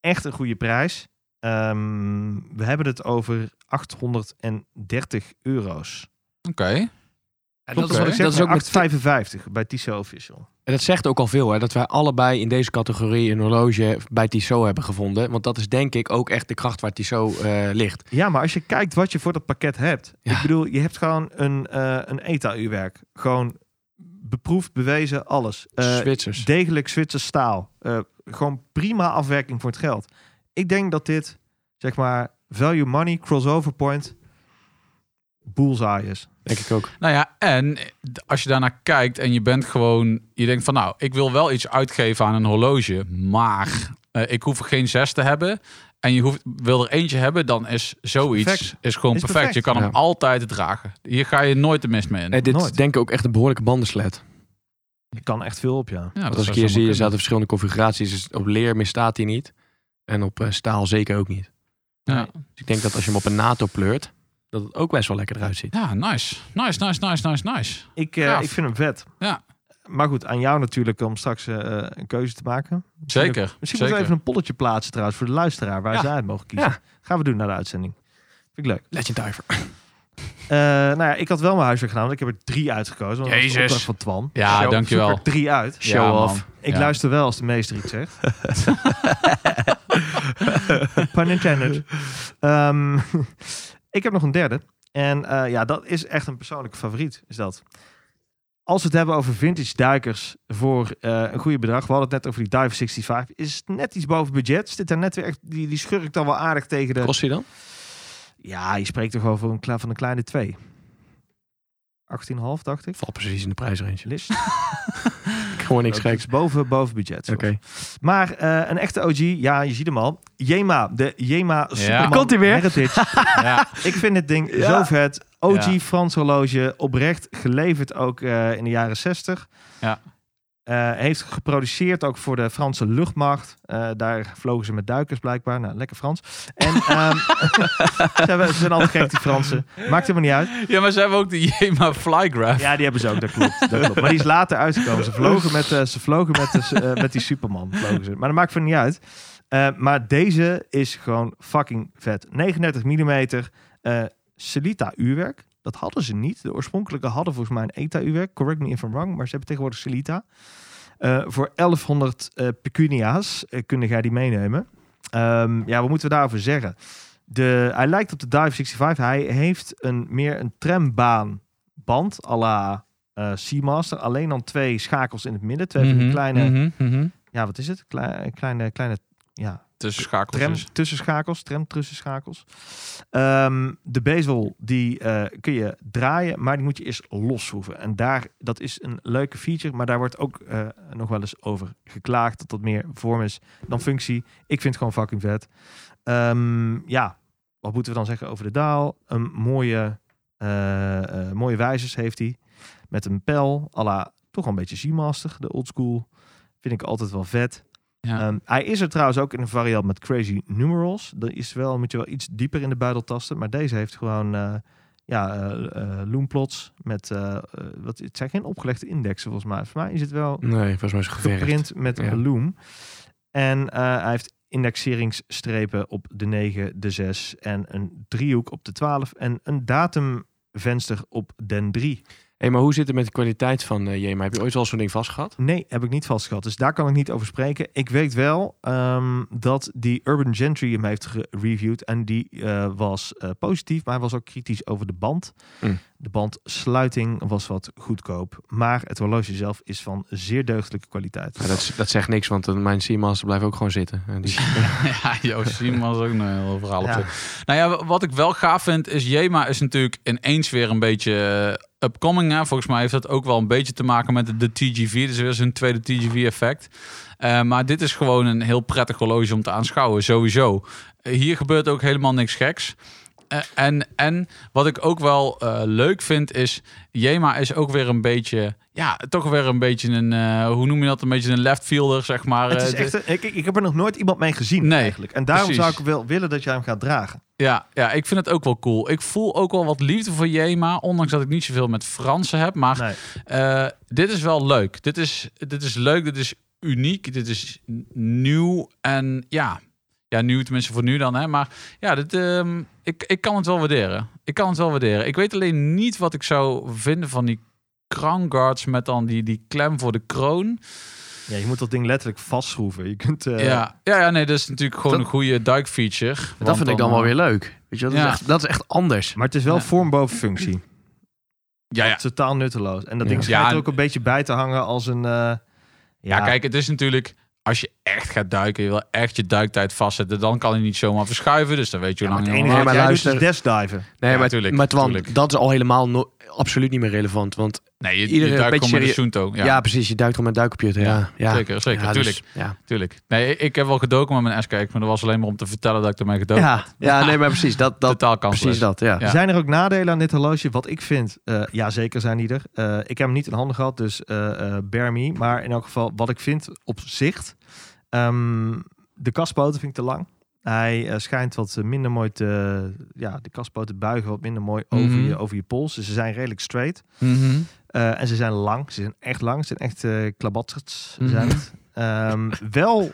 echt een goede prijs. Ehm, we hebben het over 830 euro's.
Oké.
En
Klopt
dat, is,
dat,
dat is ook met
8,55 bij Tissot Official.
En dat zegt ook al veel, hè, dat wij allebei in deze categorie een horloge bij Tissot hebben gevonden. Want dat is denk ik ook echt de kracht waar Tissot eh, ligt.
Ja, maar als je kijkt wat je voor dat pakket hebt.
Ja.
Ik bedoel, je hebt gewoon een, eh, een ETA-uurwerk. Gewoon beproefd, bewezen, alles. Eh,
Zwitsers.
degelijk Zwitsers staal. Eh, gewoon prima afwerking voor het geld. Ik denk dat dit, zeg maar, value money, crossover point, bullseye is.
Denk ik ook.
Nou ja, en als je daarnaar kijkt en je bent gewoon, je denkt van nou, ik wil wel iets uitgeven aan een horloge, maar eh, ik hoef er geen zes te hebben. En je hoeft, wil er eentje hebben, dan is zoiets
Perfect.
is gewoon
Is
perfect. Je
perfect.
kan hem
Ja.
altijd dragen. Hier ga je nooit de mist mee in.
Eh, dit is
Nooit.
denk ik ook echt een behoorlijke bandenslet.
Ik kan echt veel op, ja.
Ja,
Want
dat
als
zou
ik hier
zomaar
zie, er
kunnen.
zaten verschillende configuraties. Dus op leer misstaat hij niet. En op eh, staal zeker ook niet.
Ja.
Dus ik denk dat als je hem op een NATO pleurt, dat het ook best wel lekker eruit ziet.
Ja, nice. Nice, nice, nice, nice, nice.
Ik, eh,
Gaaf.
ik vind hem vet.
Ja.
Maar goed, aan jou natuurlijk om straks eh, een keuze te maken.
Zeker.
Misschien
zeker.
moeten we even een polletje plaatsen trouwens voor de luisteraar waar
Ja.
zij uit mogen kiezen.
Ja.
Gaan we doen naar de uitzending. Vind ik leuk.
Legend Diver.
Eh, nou ja, ik had wel mijn huiswerk gedaan, want ik heb er drie uitgekozen. Want dat was de
Jezus.
opdracht van Twan.
Ja,
Zo,
dankjewel.
zoek er drie uit.
Show
Ja, man.
off.
Ik
Ja.
luister wel als de meester iets zegt. <laughs> Pun intended. Ehm, <laughs> ik heb nog een derde. En eh, ja, dat is echt een persoonlijke favoriet, is dat. Als we het hebben over vintage duikers voor eh, een goede bedrag. We hadden het net over die Dive 65. Is het net iets boven budget. Zit daar net weer echt, die, die schurkt dan wel aardig tegen de...
Kost hij dan?
Ja, je spreekt toch over een, kle- van een kleine twee. 18,5 dacht ik.
Valt precies in de prijsrange.
List.
Gewoon niks
Dat
geks.
is boven, boven budget.
Oké.
sorry. Maar eh, een echte OG, ja, je ziet hem al. Jema, de Jema Superman
Komt-ie weer.
Heritage.
Ja,
<laughs> Ik vind dit ding
Ja.
zo vet. OG
Ja.
Frans horloge, oprecht geleverd ook eh, in de jaren 60.
Ja.
Eh, heeft geproduceerd ook voor de Franse luchtmacht. Eh, daar vlogen ze met duikers blijkbaar. Nou, lekker Frans.
<laughs>
En ehm, ze, hebben, ze zijn altijd gek, die Fransen. Maakt helemaal niet uit.
ja maar ze hebben ook de Jema Flygraph.
Ja, die hebben ze ook, dat klopt. Dat klopt. Maar die is later uitgekomen. Ze vlogen met, eh, ze vlogen met, de- eh, met die Superman. Vlogen ze. Maar dat maakt van niet uit. Eh, maar deze is gewoon fucking vet. 39 mm eh Celita uurwerk. Dat hadden ze niet. De oorspronkelijke hadden volgens mij een ETA uurwerk. Correct me if I'm wrong. Maar ze hebben tegenwoordig Celita. Eh, voor 1100 eh, pecunia's eh, kunnen jij die meenemen. Ehm, ja, wat moeten we daarover zeggen? De, hij lijkt op de Dive 65. Hij heeft een, meer een trambaan band à la eh, Seamaster. Alleen dan twee schakels in het midden. Twee van die
Mhm,
kleine,
mhm, mhm.
ja, wat is het? Klei- kleine, kleine, ja,
Tussen schakels.
tram
dus.
tussenschakels, tram tussenschakels. Ehm, de bezel, die eh, kun je draaien, maar die moet je eerst losschroeven. En daar, dat is een leuke feature, maar daar wordt ook eh, nog wel eens over geklaagd dat dat meer vorm is dan functie. Ik vind het gewoon fucking vet. Ehm, ja, wat moeten we dan zeggen over de daal? Een mooie, eh, eh, mooie wijzers heeft hij. Met een pijl, à la toch wel een beetje Seamaster, de old school. Vind ik altijd wel vet.
Ja.
Ehm, hij is er trouwens ook in een variant met crazy numerals. Dat is wel, moet je wel iets dieper in de buidel tasten. Maar deze heeft gewoon eh, ja, eh eh, loomplots met, eh, eh, wat, het zijn geen opgelegde indexen volgens mij. Voor mij is het wel
Nee, volgens mij is het geverfd.
geprint met
Nou, Ja.
een loom. En eh, hij heeft indexeringsstrepen op de 9, de 6 en een driehoek op de 12 en een datumvenster op den 3.
Hé, maar hoe zit het met de kwaliteit van eh Jema? Heb je ooit wel zo'n ding vastgehad?
Nee, heb ik niet vastgeschat. Dus daar kan ik niet over spreken. Ik weet wel ehm, dat die Urban Gentry hem heeft gereviewd. En die eh, was eh, positief, maar hij was ook kritisch over de band.
Mm.
De bandsluiting was wat goedkoop. Maar het horloge zelf is van zeer deugdelijke kwaliteit.
Ja, dat, is- dat zegt niks, want eh, mijn Seamaster blijft ook gewoon zitten. En die-
<laughs> Ja, Joost Simon is ook een heel verhaal op
Ja.
zich. Nou ja, wat ik wel gaaf vind is... Jema is natuurlijk ineens weer een beetje eh, upcoming. Hè? Volgens mij heeft dat ook wel een beetje te maken met de, de TGV. Dus weer zijn tweede TGV-effect. Eh, maar dit is gewoon een heel prettig horloge om te aanschouwen, sowieso. Eh, hier gebeurt ook helemaal niks geks. Eh, en, en wat ik ook wel eh, leuk vind is... Jema is ook weer een beetje... Ja, toch weer een beetje een... eh, hoe noem je dat? Een beetje een left fielder, zeg maar.
Het is
Eh,
echt een- ik, ik ik heb er nog nooit iemand mee gezien
Nee,
eigenlijk. En daarom
precies.
zou ik wel willen dat jij hem gaat dragen.
Ja, ja, ik vind het ook wel cool. Ik voel ook wel wat liefde voor Jema. Ondanks dat ik niet zoveel met Fransen heb. Maar
Nee.
eh, dit is wel leuk. Dit is, dit is leuk. Dit is uniek. Dit is n- nieuw. En ja, ja nieuw tenminste voor nu dan. Hè. Maar ja, dit, ehm, ik, ik kan het wel waarderen. Ik kan het wel waarderen. Ik weet alleen niet wat ik zou vinden van die crown guards met dan die, die klem voor de kroon.
Ja, je moet dat ding letterlijk vastschroeven. Je kunt, eh,
ja. Ja, ja, nee, dat is natuurlijk gewoon
dat-
een goede duikfeature.
<laughs> Dat
want
vind ik dan wel
eh,
weer leuk. Weet je, dat,
Ja.
is echt, dat is echt anders.
Maar het is wel
Ja.
vorm boven functie.
Ja, ja.
Het is totaal nutteloos. En dat
Ja.
ding schijnt
Ja,
er
en-
ook een beetje bij te hangen als een... eh,
Ja, kijk, het is natuurlijk... Als je echt gaat duiken, je wil echt je duiktijd vastzetten... dan kan hij niet zomaar verschuiven. Dus dan weet je hoe
maar
lang
het
je
enige
al-
maar
wat jij doet
luister-
is dashdiven.
Nee,
Ja,
maar,
tuurlijk,
maar Twan,
tuurlijk.
dat is al helemaal no- absoluut niet meer relevant. Want
Nee, je,
Iedereen
je duikt
een
gewoon met de
beetje
Sunto.
ja,
Ja, ja,
precies, je duikt al met duikcomputer. Ja, ja,
Zeker, zeker,
Ja, dus-
tuurlijk.
ja.
tuurlijk. Nee, ik heb wel gedoken met mijn SKX... maar dat was alleen maar om te vertellen dat ik ermee gedoken heb.
Ja, ja, nee, maar precies.
<laughs>
Dat, dat,
Totaal kansloos.
precies dat, ja.
Ja.
Zijn er ook nadelen aan dit horloge? Wat ik vind, eh, ja zeker zijn die er. Eh, ik heb hem niet in handen gehad, dus eh eh bear me. Maar in elk geval, wat ik vind op zicht, ehm, de kaspoten vind ik te lang. Hij eh, schijnt wat eh, minder mooi te... Ja, de kaspoten buigen wat minder mooi over,
Mhm.
je, over je pols. Dus ze zijn redelijk straight.
Mhm.
Eh, en ze zijn lang. Ze zijn echt lang. Ze zijn echt eh klabatserts.
Mhm.
zijn het. Ehm, wel,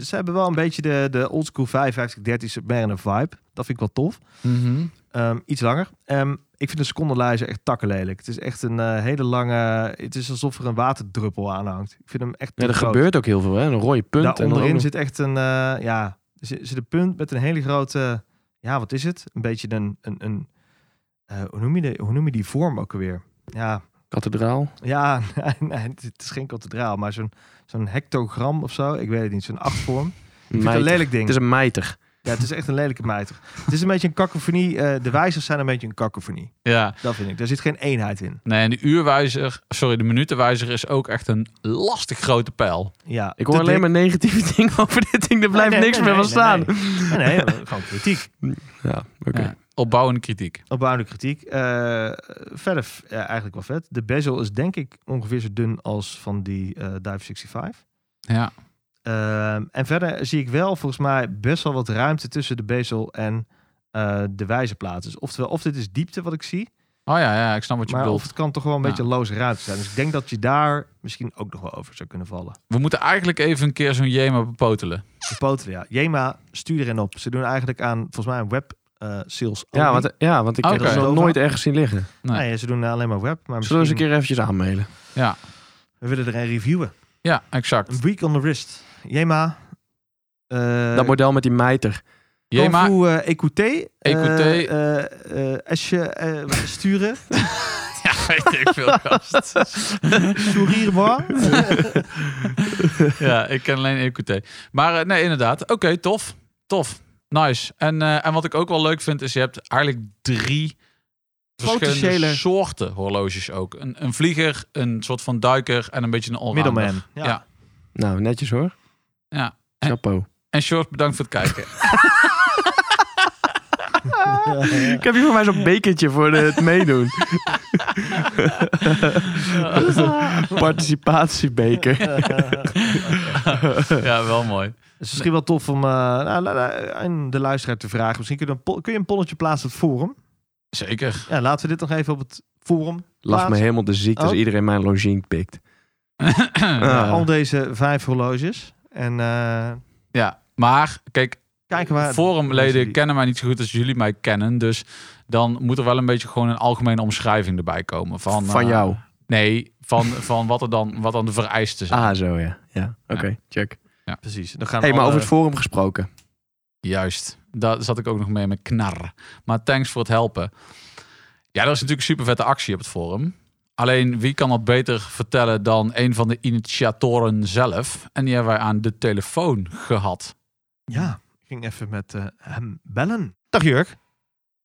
ze hebben wel een beetje de, de oldschool 55-13 Submariner vibe. Dat vind ik wel tof.
Mhm.
Ehm, iets langer. Ehm, ik vind de secondenlijzer echt takkenlelijk. Het is echt een eh, hele lange... Het is alsof er een waterdruppel aan hangt. Ik vind hem echt
Ja,
te
er
groot.
gebeurt ook heel veel, hè. Een rode punt.
Daar
en dan ook
onderin
nog-
zit echt een... eh, ja, er zit, zit een punt met een hele grote... Ja, wat is het? Een beetje een... een, een eh, hoe, noem je de, hoe noem je die vorm ook alweer? Ja,
Kathedraal.
ja, <laughs> nee, nee, het is geen kathedraal, maar zo'n zo'n hectogram of zo. Ik weet het niet, zo'n achtvorm.
<laughs>
Ik vind het een
Mijter.
lelijk
Het
ding.
is een mijter.
Ja, het is echt een lelijke mijter. Het is een beetje een kakofonie. eh, de wijzers zijn een beetje een kakofonie.
Ja.
Dat vind ik. Daar zit geen eenheid in.
Nee, en de uurwijzer, sorry, de minutenwijzer is ook echt een lastig grote pijl.
Ja,
Ik hoor
te
alleen
dik.
maar negatieve <laughs> dingen over dit ding. Er blijft
Oh, Nee, nee,
niks
nee,
meer van
nee,
staan.
Nee, nee.
<laughs>
Nee, nee, gewoon kritiek.
Ja, oké.
Ja, opbouwende kritiek.
Opbouwende kritiek. Eh, verder f- ja, eigenlijk wel vet. De bezel is denk ik ongeveer zo dun als van die eh Dive 65.
Ja.
Ehm, en verder zie ik wel volgens mij best wel wat ruimte tussen de bezel en eh, de wijzerplaat. Dus oftewel, of dit is diepte wat ik zie,
Oh ja, ja, ik snap wat je
maar of
bedoelt.
het kan toch wel een
Ja.
beetje loze ruimte zijn. Dus ik denk dat je daar misschien ook nog wel over zou kunnen vallen.
We moeten eigenlijk even een keer zo'n Jema bepotelen.
De poten, ja. Jema, stuur erin op. Ze doen eigenlijk aan, volgens mij, een web eh, sales.
Ja,
only.
want, ja, want ik heb
Oké.
het nog nooit ergens zien liggen.
nee.
Nee, ze doen alleen maar web. Maar misschien,
Zullen we eens een keer eventjes aanmailen?
Ja,
we willen er een reviewen.
ja, exact.
Een week on the wrist. Jema. eh,
Dat model met die mijter.
Jema,
Kanfu, eh, Écouté.
Écouté.
eh, eh, eh, Esje eh, sturen.
<laughs> ja, weet ik veel gast.
Sourire
<laughs>
moi.
Ja, ik ken alleen EQT. Maar eh, nee, inderdaad. Oké, tof. Tof. Nice. En, eh, en wat ik ook wel leuk vind, is je hebt eigenlijk drie verschillende
Potentiële-
soorten horloges ook. Een, een vlieger, een soort van duiker en een beetje een allrounder.
Middelman. Ja.
Ja.
Nou, netjes hoor.
Ja.
Chapeau.
En Short, bedankt voor het
<laughs>
kijken.
<laughs> Ik heb hier voor mij zo'n bekertje voor de- het meedoen. Participatiebeker.
ja, wel mooi.
Het is misschien wel tof om eh, nou, la- la- aan de luisteraar te vragen. Misschien kun je een, po- kun je een polletje plaatsen op het forum.
Zeker. <clears throat>
Ja, laten we dit nog even op het forum.
Lach me
plaatsen.
helemaal de ziekte als
Oh.
iedereen mijn logine pikt.
Ja,
Ah.
Eh, Al deze vijf horloges. En eh,
ja, maar kijk,
kijken waar.
forumleden
Mensen die-
kennen mij niet zo goed als jullie mij kennen. Dus dan moet er wel een beetje gewoon een algemene omschrijving erbij komen. Van,
Van
eh,
jou.
Nee, van, van wat, er dan, wat dan de vereisten zijn.
Ah, zo ja. Ja, oké. Check.
Precies. Dan gaan
hey, maar
alle-
over het forum gesproken.
Juist. Daar zat ik ook nog mee met knar. Maar thanks voor het helpen. Ja, dat is natuurlijk een super vette actie op het forum. Alleen wie kan dat beter vertellen dan een van de initiatoren zelf? En die hebben wij aan de telefoon gehad.
Ja, ik ging even met eh, hem bellen. Dag Jurk.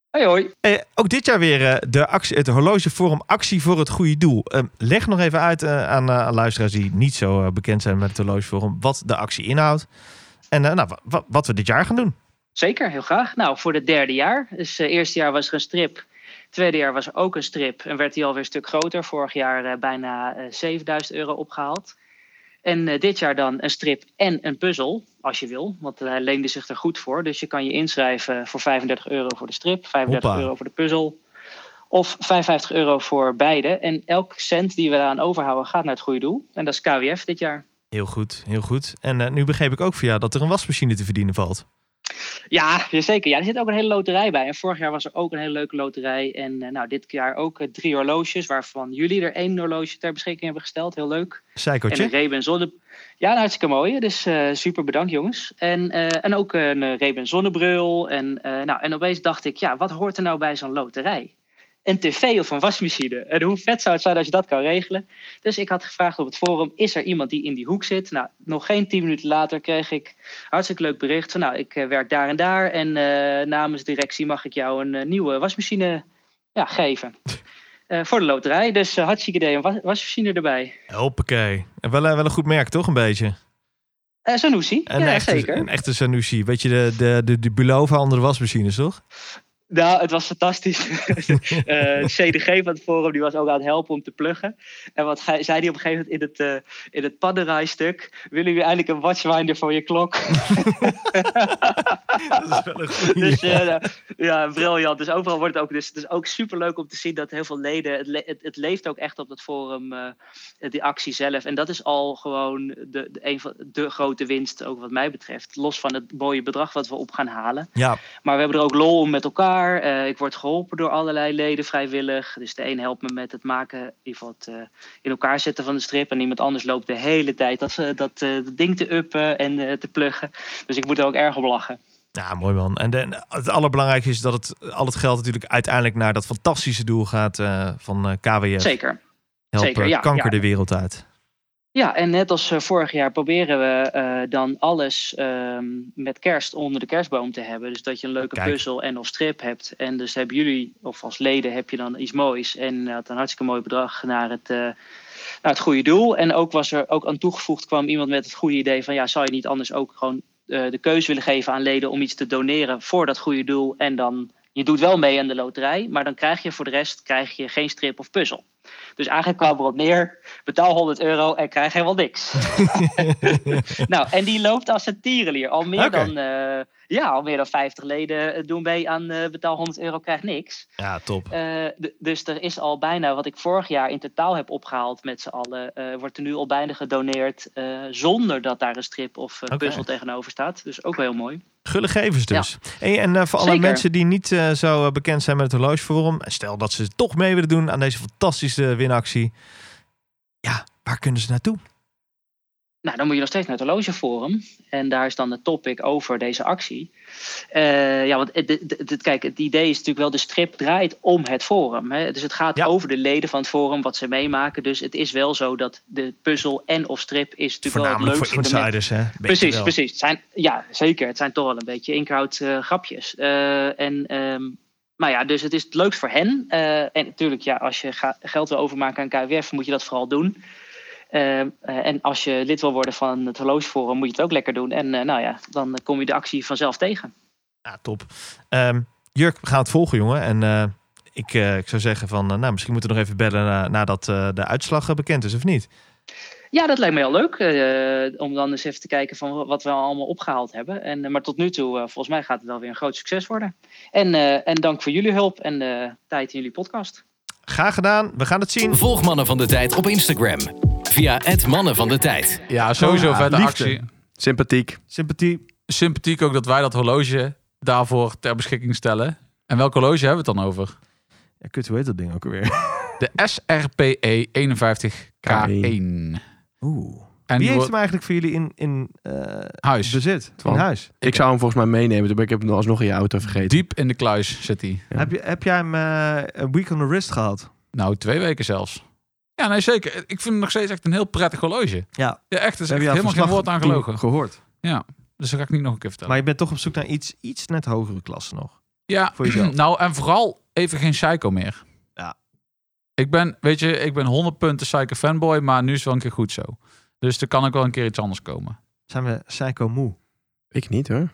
Hoi hoi.
Eh, ook dit jaar weer eh, de actie, het horlogeforum Actie voor het Goede Doel. Eh, leg nog even uit eh, aan, eh, aan luisteraars die niet zo eh, bekend zijn met het horlogeforum... wat de actie inhoudt en eh, nou, wa- wa- wat we dit jaar gaan doen.
Zeker, heel graag. Nou, voor het derde jaar. Dus eh eerste jaar was er een strip. Tweede jaar was er ook een strip. En werd die alweer een stuk groter. Vorig jaar eh, bijna eh, 7000 euro opgehaald. En eh, dit jaar dan een strip en een puzzel, als je wil. Want eh, hij leende zich er goed voor. Dus je kan je inschrijven voor 35 euro voor de strip, 35
Hoppa.
euro voor de puzzel. Of 55 euro voor beide. En elk cent die we daaraan overhouden gaat naar het goede doel. En dat is KWF dit jaar.
Heel goed, heel goed. En eh, nu begreep ik ook van jou dat er een wasmachine te verdienen valt.
Ja, zeker. Ja, er zit ook een hele loterij bij. En vorig jaar was er ook een hele leuke loterij. En eh, nou, dit jaar ook eh, drie horloges, waarvan jullie er één horloge ter beschikking hebben gesteld. Heel leuk. En een
Psychotje.
Reben zonne... Ja, nou, hartstikke mooi. Dus eh, super bedankt, jongens. En, eh, en ook een eh, Reben zonnebril. En, eh, nou, en opeens dacht ik, ja, wat hoort er nou bij zo'n loterij? Een tv of een wasmachine. En hoe vet zou het zijn als je dat kan regelen? Dus ik had gevraagd op het forum, is er iemand die in die hoek zit? Nou, nog geen tien minuten later kreeg ik een hartstikke leuk bericht. Van, nou, ik eh, werk daar en daar. En eh, namens directie mag ik jou een eh, nieuwe wasmachine ja, geven. Eh, voor de loterij. Dus eh, hartstikke idee, een was- wasmachine erbij.
Hoppakee. En wel, eh, wel een goed merk, toch? Een beetje.
Eh Zanussi,
Een
ja
echte,
zeker.
Een echte Sanusi. Weet je, de, de, de, de Bulova onder de wasmachines, toch?
Nou, het was
<laughs>
fantastisch. Eh, CDG van het forum die was ook aan het helpen om te pluggen. En wat gij- zei hij op een gegeven moment in het, eh in het paddenraaistuk... willen jullie eindelijk een watchwinder voor je klok? <laughs>
Dat is wel een goeie.
<laughs> Dus eh, nou, ja, briljant. Dus overal wordt het ook. Dus het is ook superleuk om te zien dat heel veel leden. Het, le- het, het leeft ook echt op dat forum, eh, die actie zelf. En dat is al gewoon de, de, een van de grote winst, ook wat mij betreft. Los van het mooie bedrag wat we op gaan halen.
Ja,
Maar we hebben er ook lol om met elkaar. Eh, ik word geholpen door allerlei leden vrijwillig. Dus de een helpt me met het maken, in ieder geval het eh, in elkaar zetten van de strip. En iemand anders loopt de hele tijd dat, ze- dat eh, dat ding te uppen en eh, te pluggen. Dus ik moet er ook erg om lachen.
Ja, mooi man. En de- het allerbelangrijkste is dat het, al het geld natuurlijk uiteindelijk naar dat fantastische doel gaat eh, van eh KWF.
Zeker.
Help
zeker,
eh,
ja,
kanker
ja.
de wereld uit.
Ja, en net als eh, vorig jaar proberen we eh, dan alles ehm, met kerst onder de kerstboom te hebben. Dus dat je een leuke
Kijk.
puzzel en of strip hebt. En dus hebben jullie, of als leden heb je dan iets moois. En had een hartstikke mooi bedrag naar het, eh, naar het goede doel. En ook was er ook aan toegevoegd kwam iemand met het goede idee van ja, zou je niet anders ook gewoon eh, de keuze willen geven aan leden om iets te doneren voor dat goede doel. En dan, je doet wel mee aan de loterij, maar dan krijg je voor de rest krijg je geen strip of puzzel. Dus eigenlijk kwam erop neer, betaal 100 euro en krijg helemaal
<laughs>
niks. nou, en die loopt als een tierenlier. Al meer,
Oké.
dan, eh, ja, al meer dan 50 leden eh, doen mee aan eh, betaal 100 euro, krijg niks.
Ja, top.
Eh, d- dus er is al bijna, wat ik vorig jaar in totaal heb opgehaald met z'n allen, eh, wordt er nu al bijna gedoneerd eh, zonder dat daar een strip of eh,
Oké.
puzzel tegenover staat. Dus ook wel heel mooi.
Gulle gevers dus. Hey, en eh, voor alle
Zeker.
mensen die niet eh, zo eh, bekend zijn met het horlogeforum. En stel dat ze toch mee willen doen aan deze fantastische winactie. Ja, waar kunnen ze naartoe?
Nou, dan moet je nog steeds naar het horlogeforum. En daar is dan het topic over deze actie. Eh, ja, want het, het- het- het- kijk, het idee is natuurlijk wel, de strip draait om het forum. Hè? Dus het gaat
Ja.
over de leden van het forum, wat ze meemaken. Dus het is wel zo dat de puzzel en of strip is natuurlijk wel het
Voornamelijk
leukste
voor
voor de mensen.
insiders, hè? Weet je
Precies,
wel.
precies. Het zijn, ja, zeker. Het zijn toch wel een beetje inkoud eh, grapjes. Eh, en, ehm, maar ja, dus het is het leukst voor hen. Eh, en natuurlijk, ja, als je ga- geld wil overmaken aan KWF, moet je dat vooral doen. Ehm, eh, en als je lid wil worden van het horlogeforum, moet je het ook lekker doen. En eh, nou ja, dan kom je de actie vanzelf tegen.
Ja, top. Ehm, Jurk, we gaan het volgen, jongen. En eh, ik, eh, ik zou zeggen van, eh, nou, misschien moeten we nog even bellen eh, nadat eh, de uitslag eh, bekend is, of niet?
Ja, dat lijkt me heel leuk. eh, om dan eens even te kijken van wat we allemaal opgehaald hebben. En, eh, maar tot nu toe, eh, volgens mij gaat het wel weer een groot succes worden. En, eh, en dank voor jullie hulp en eh, tijd in jullie podcast.
Graag gedaan. We gaan het zien.
Volg Mannen van de Tijd op Instagram via het Mannen van de Tijd.
Ja, sowieso
Oh Ja,
vette
liefde.
actie.
Sympathiek.
Sympathie.
Sympathiek ook dat wij dat horloge daarvoor ter beschikking stellen. En welk horloge hebben we het dan over?
Ja, kut, hoe heet dat ding ook alweer?
De SRPE 51K1.
<laughs> Oeh.
En die
Wie heeft
wordt
hem eigenlijk voor jullie in, in eh,
huis.
bezit? In
Twan.
huis?
Ik zou hem volgens mij meenemen. toen ben Ik heb hem alsnog in je auto vergeten.
Diep in de kluis zit hij.
Ja.
Heb, je, heb jij hem eh, een week on the wrist gehad?
Nou, twee weken zelfs. Ja, nee, zeker. Ik vind het nog steeds echt een heel prettig horloge.
Ja.
Ja, echt. Er is echt
Heb je al
helemaal geen
verslag
woord aan
toen
gelogen.
Gehoord.
Dus dat ga ik niet nog een keer vertellen.
Maar je bent toch op zoek naar iets, iets net hogere klasse nog.
Ja,
Voor jezelf.
<clears throat> nou en vooral even geen psycho meer.
Ja.
Ik ben, weet je, ik ben 100 punten psycho fanboy, maar nu is het wel een keer goed zo. Dus er kan ook wel een keer iets anders komen.
Zijn we psycho moe?
Ik niet hoor.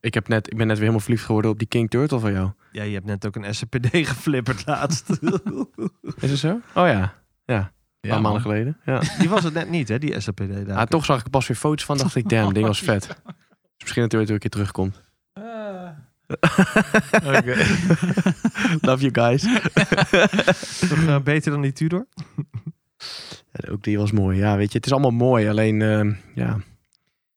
Ik, heb net, ik ben net weer helemaal verliefd geworden op die King Turtle van jou.
Ja, je hebt net ook een SCPD <laughs> geflipperd laatst.
Is het zo? Oh ja. Een paar
man.
maanden geleden. Ja.
<laughs> die was het net niet, hè, die SCPD.
Ah, toch zag ik er pas weer foto's van. Dacht ik, damn, ding was vet. Dus misschien dat hij ooit weer een keer terugkomt. <laughs> Love you guys.
Toch eh, beter dan die Tudor?
Ja, ook die was mooi. Ja, weet je, het is allemaal mooi. Alleen, ehm, ja,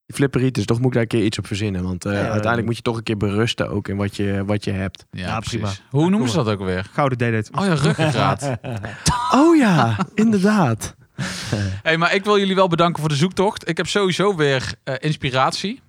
Die flipperitis, toch moet ik daar een keer iets op verzinnen. Want eh,
Ja,
uiteindelijk
dat-
moet je toch een keer berusten ook in wat je, wat je hebt.
Ja,
Ja,
precies.
prima.
Hoe noemen ze
cool.
dat ook alweer?
Gouden D-date.
Oh ja,
<laughs>
ruggengraat.
Oh ja, inderdaad.
hey, maar ik wil jullie wel bedanken voor de zoektocht. Ik heb sowieso weer eh, inspiratie.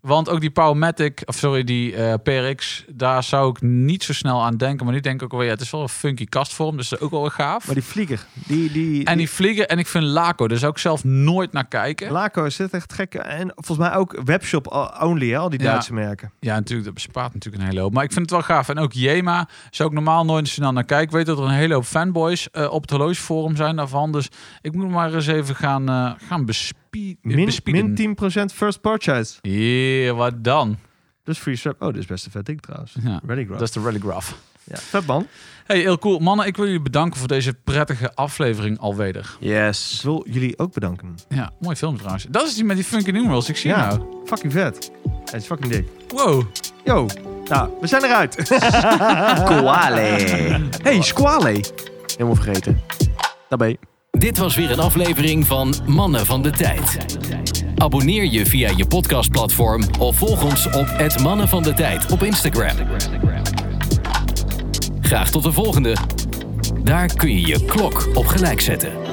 Want ook die Powermatic, of sorry, die eh, PRX, daar zou ik niet zo snel aan denken. Maar nu denk ik ook wel, ja, het is wel een funky kastvorm, dus dat is ook wel weer gaaf.
Maar die vlieger, die, die,
En die vliegen, en ik vind Laco, daar zou ik zelf nooit naar kijken.
Laco is dit echt gek. En volgens mij ook webshop only, hè, al die
Ja.
Duitse merken.
Ja, natuurlijk, dat bespaart natuurlijk een hele hoop. Maar ik vind het wel gaaf. En ook Jema zou ik normaal nooit snel naar kijken. Ik weet dat er een hele hoop fanboys eh, op het horlogeforum zijn daarvan. Dus ik moet maar eens even gaan, eh, gaan bespie-
Min,
bespieden.
min 10% first purchase.
Ja, wat dan?
Dus free strap. Oh, dit is best een vet ding trouwens.
Ja,
Ready
dat is de Rally Graph.
Ja, vet man.
Hey, heel cool. Mannen, ik wil jullie bedanken voor deze prettige aflevering alweder.
Ik
Yes.
wil jullie ook bedanken.
Ja, mooi film trouwens. Dat is die met die funky numerals. Ik zie
Ja.
nou.
Fucking vet. Het is fucking dik.
Wow.
Yo. Nou, we zijn eruit. <laughs>
Koale. Hey, squale. Helemaal vergeten. Daarbij.
Dit was weer een aflevering van Mannen van de Tijd. Abonneer je via je podcastplatform of volg ons op het Mannen van de Tijd op Instagram. Graag tot de volgende. Daar kun je je klok op gelijk zetten.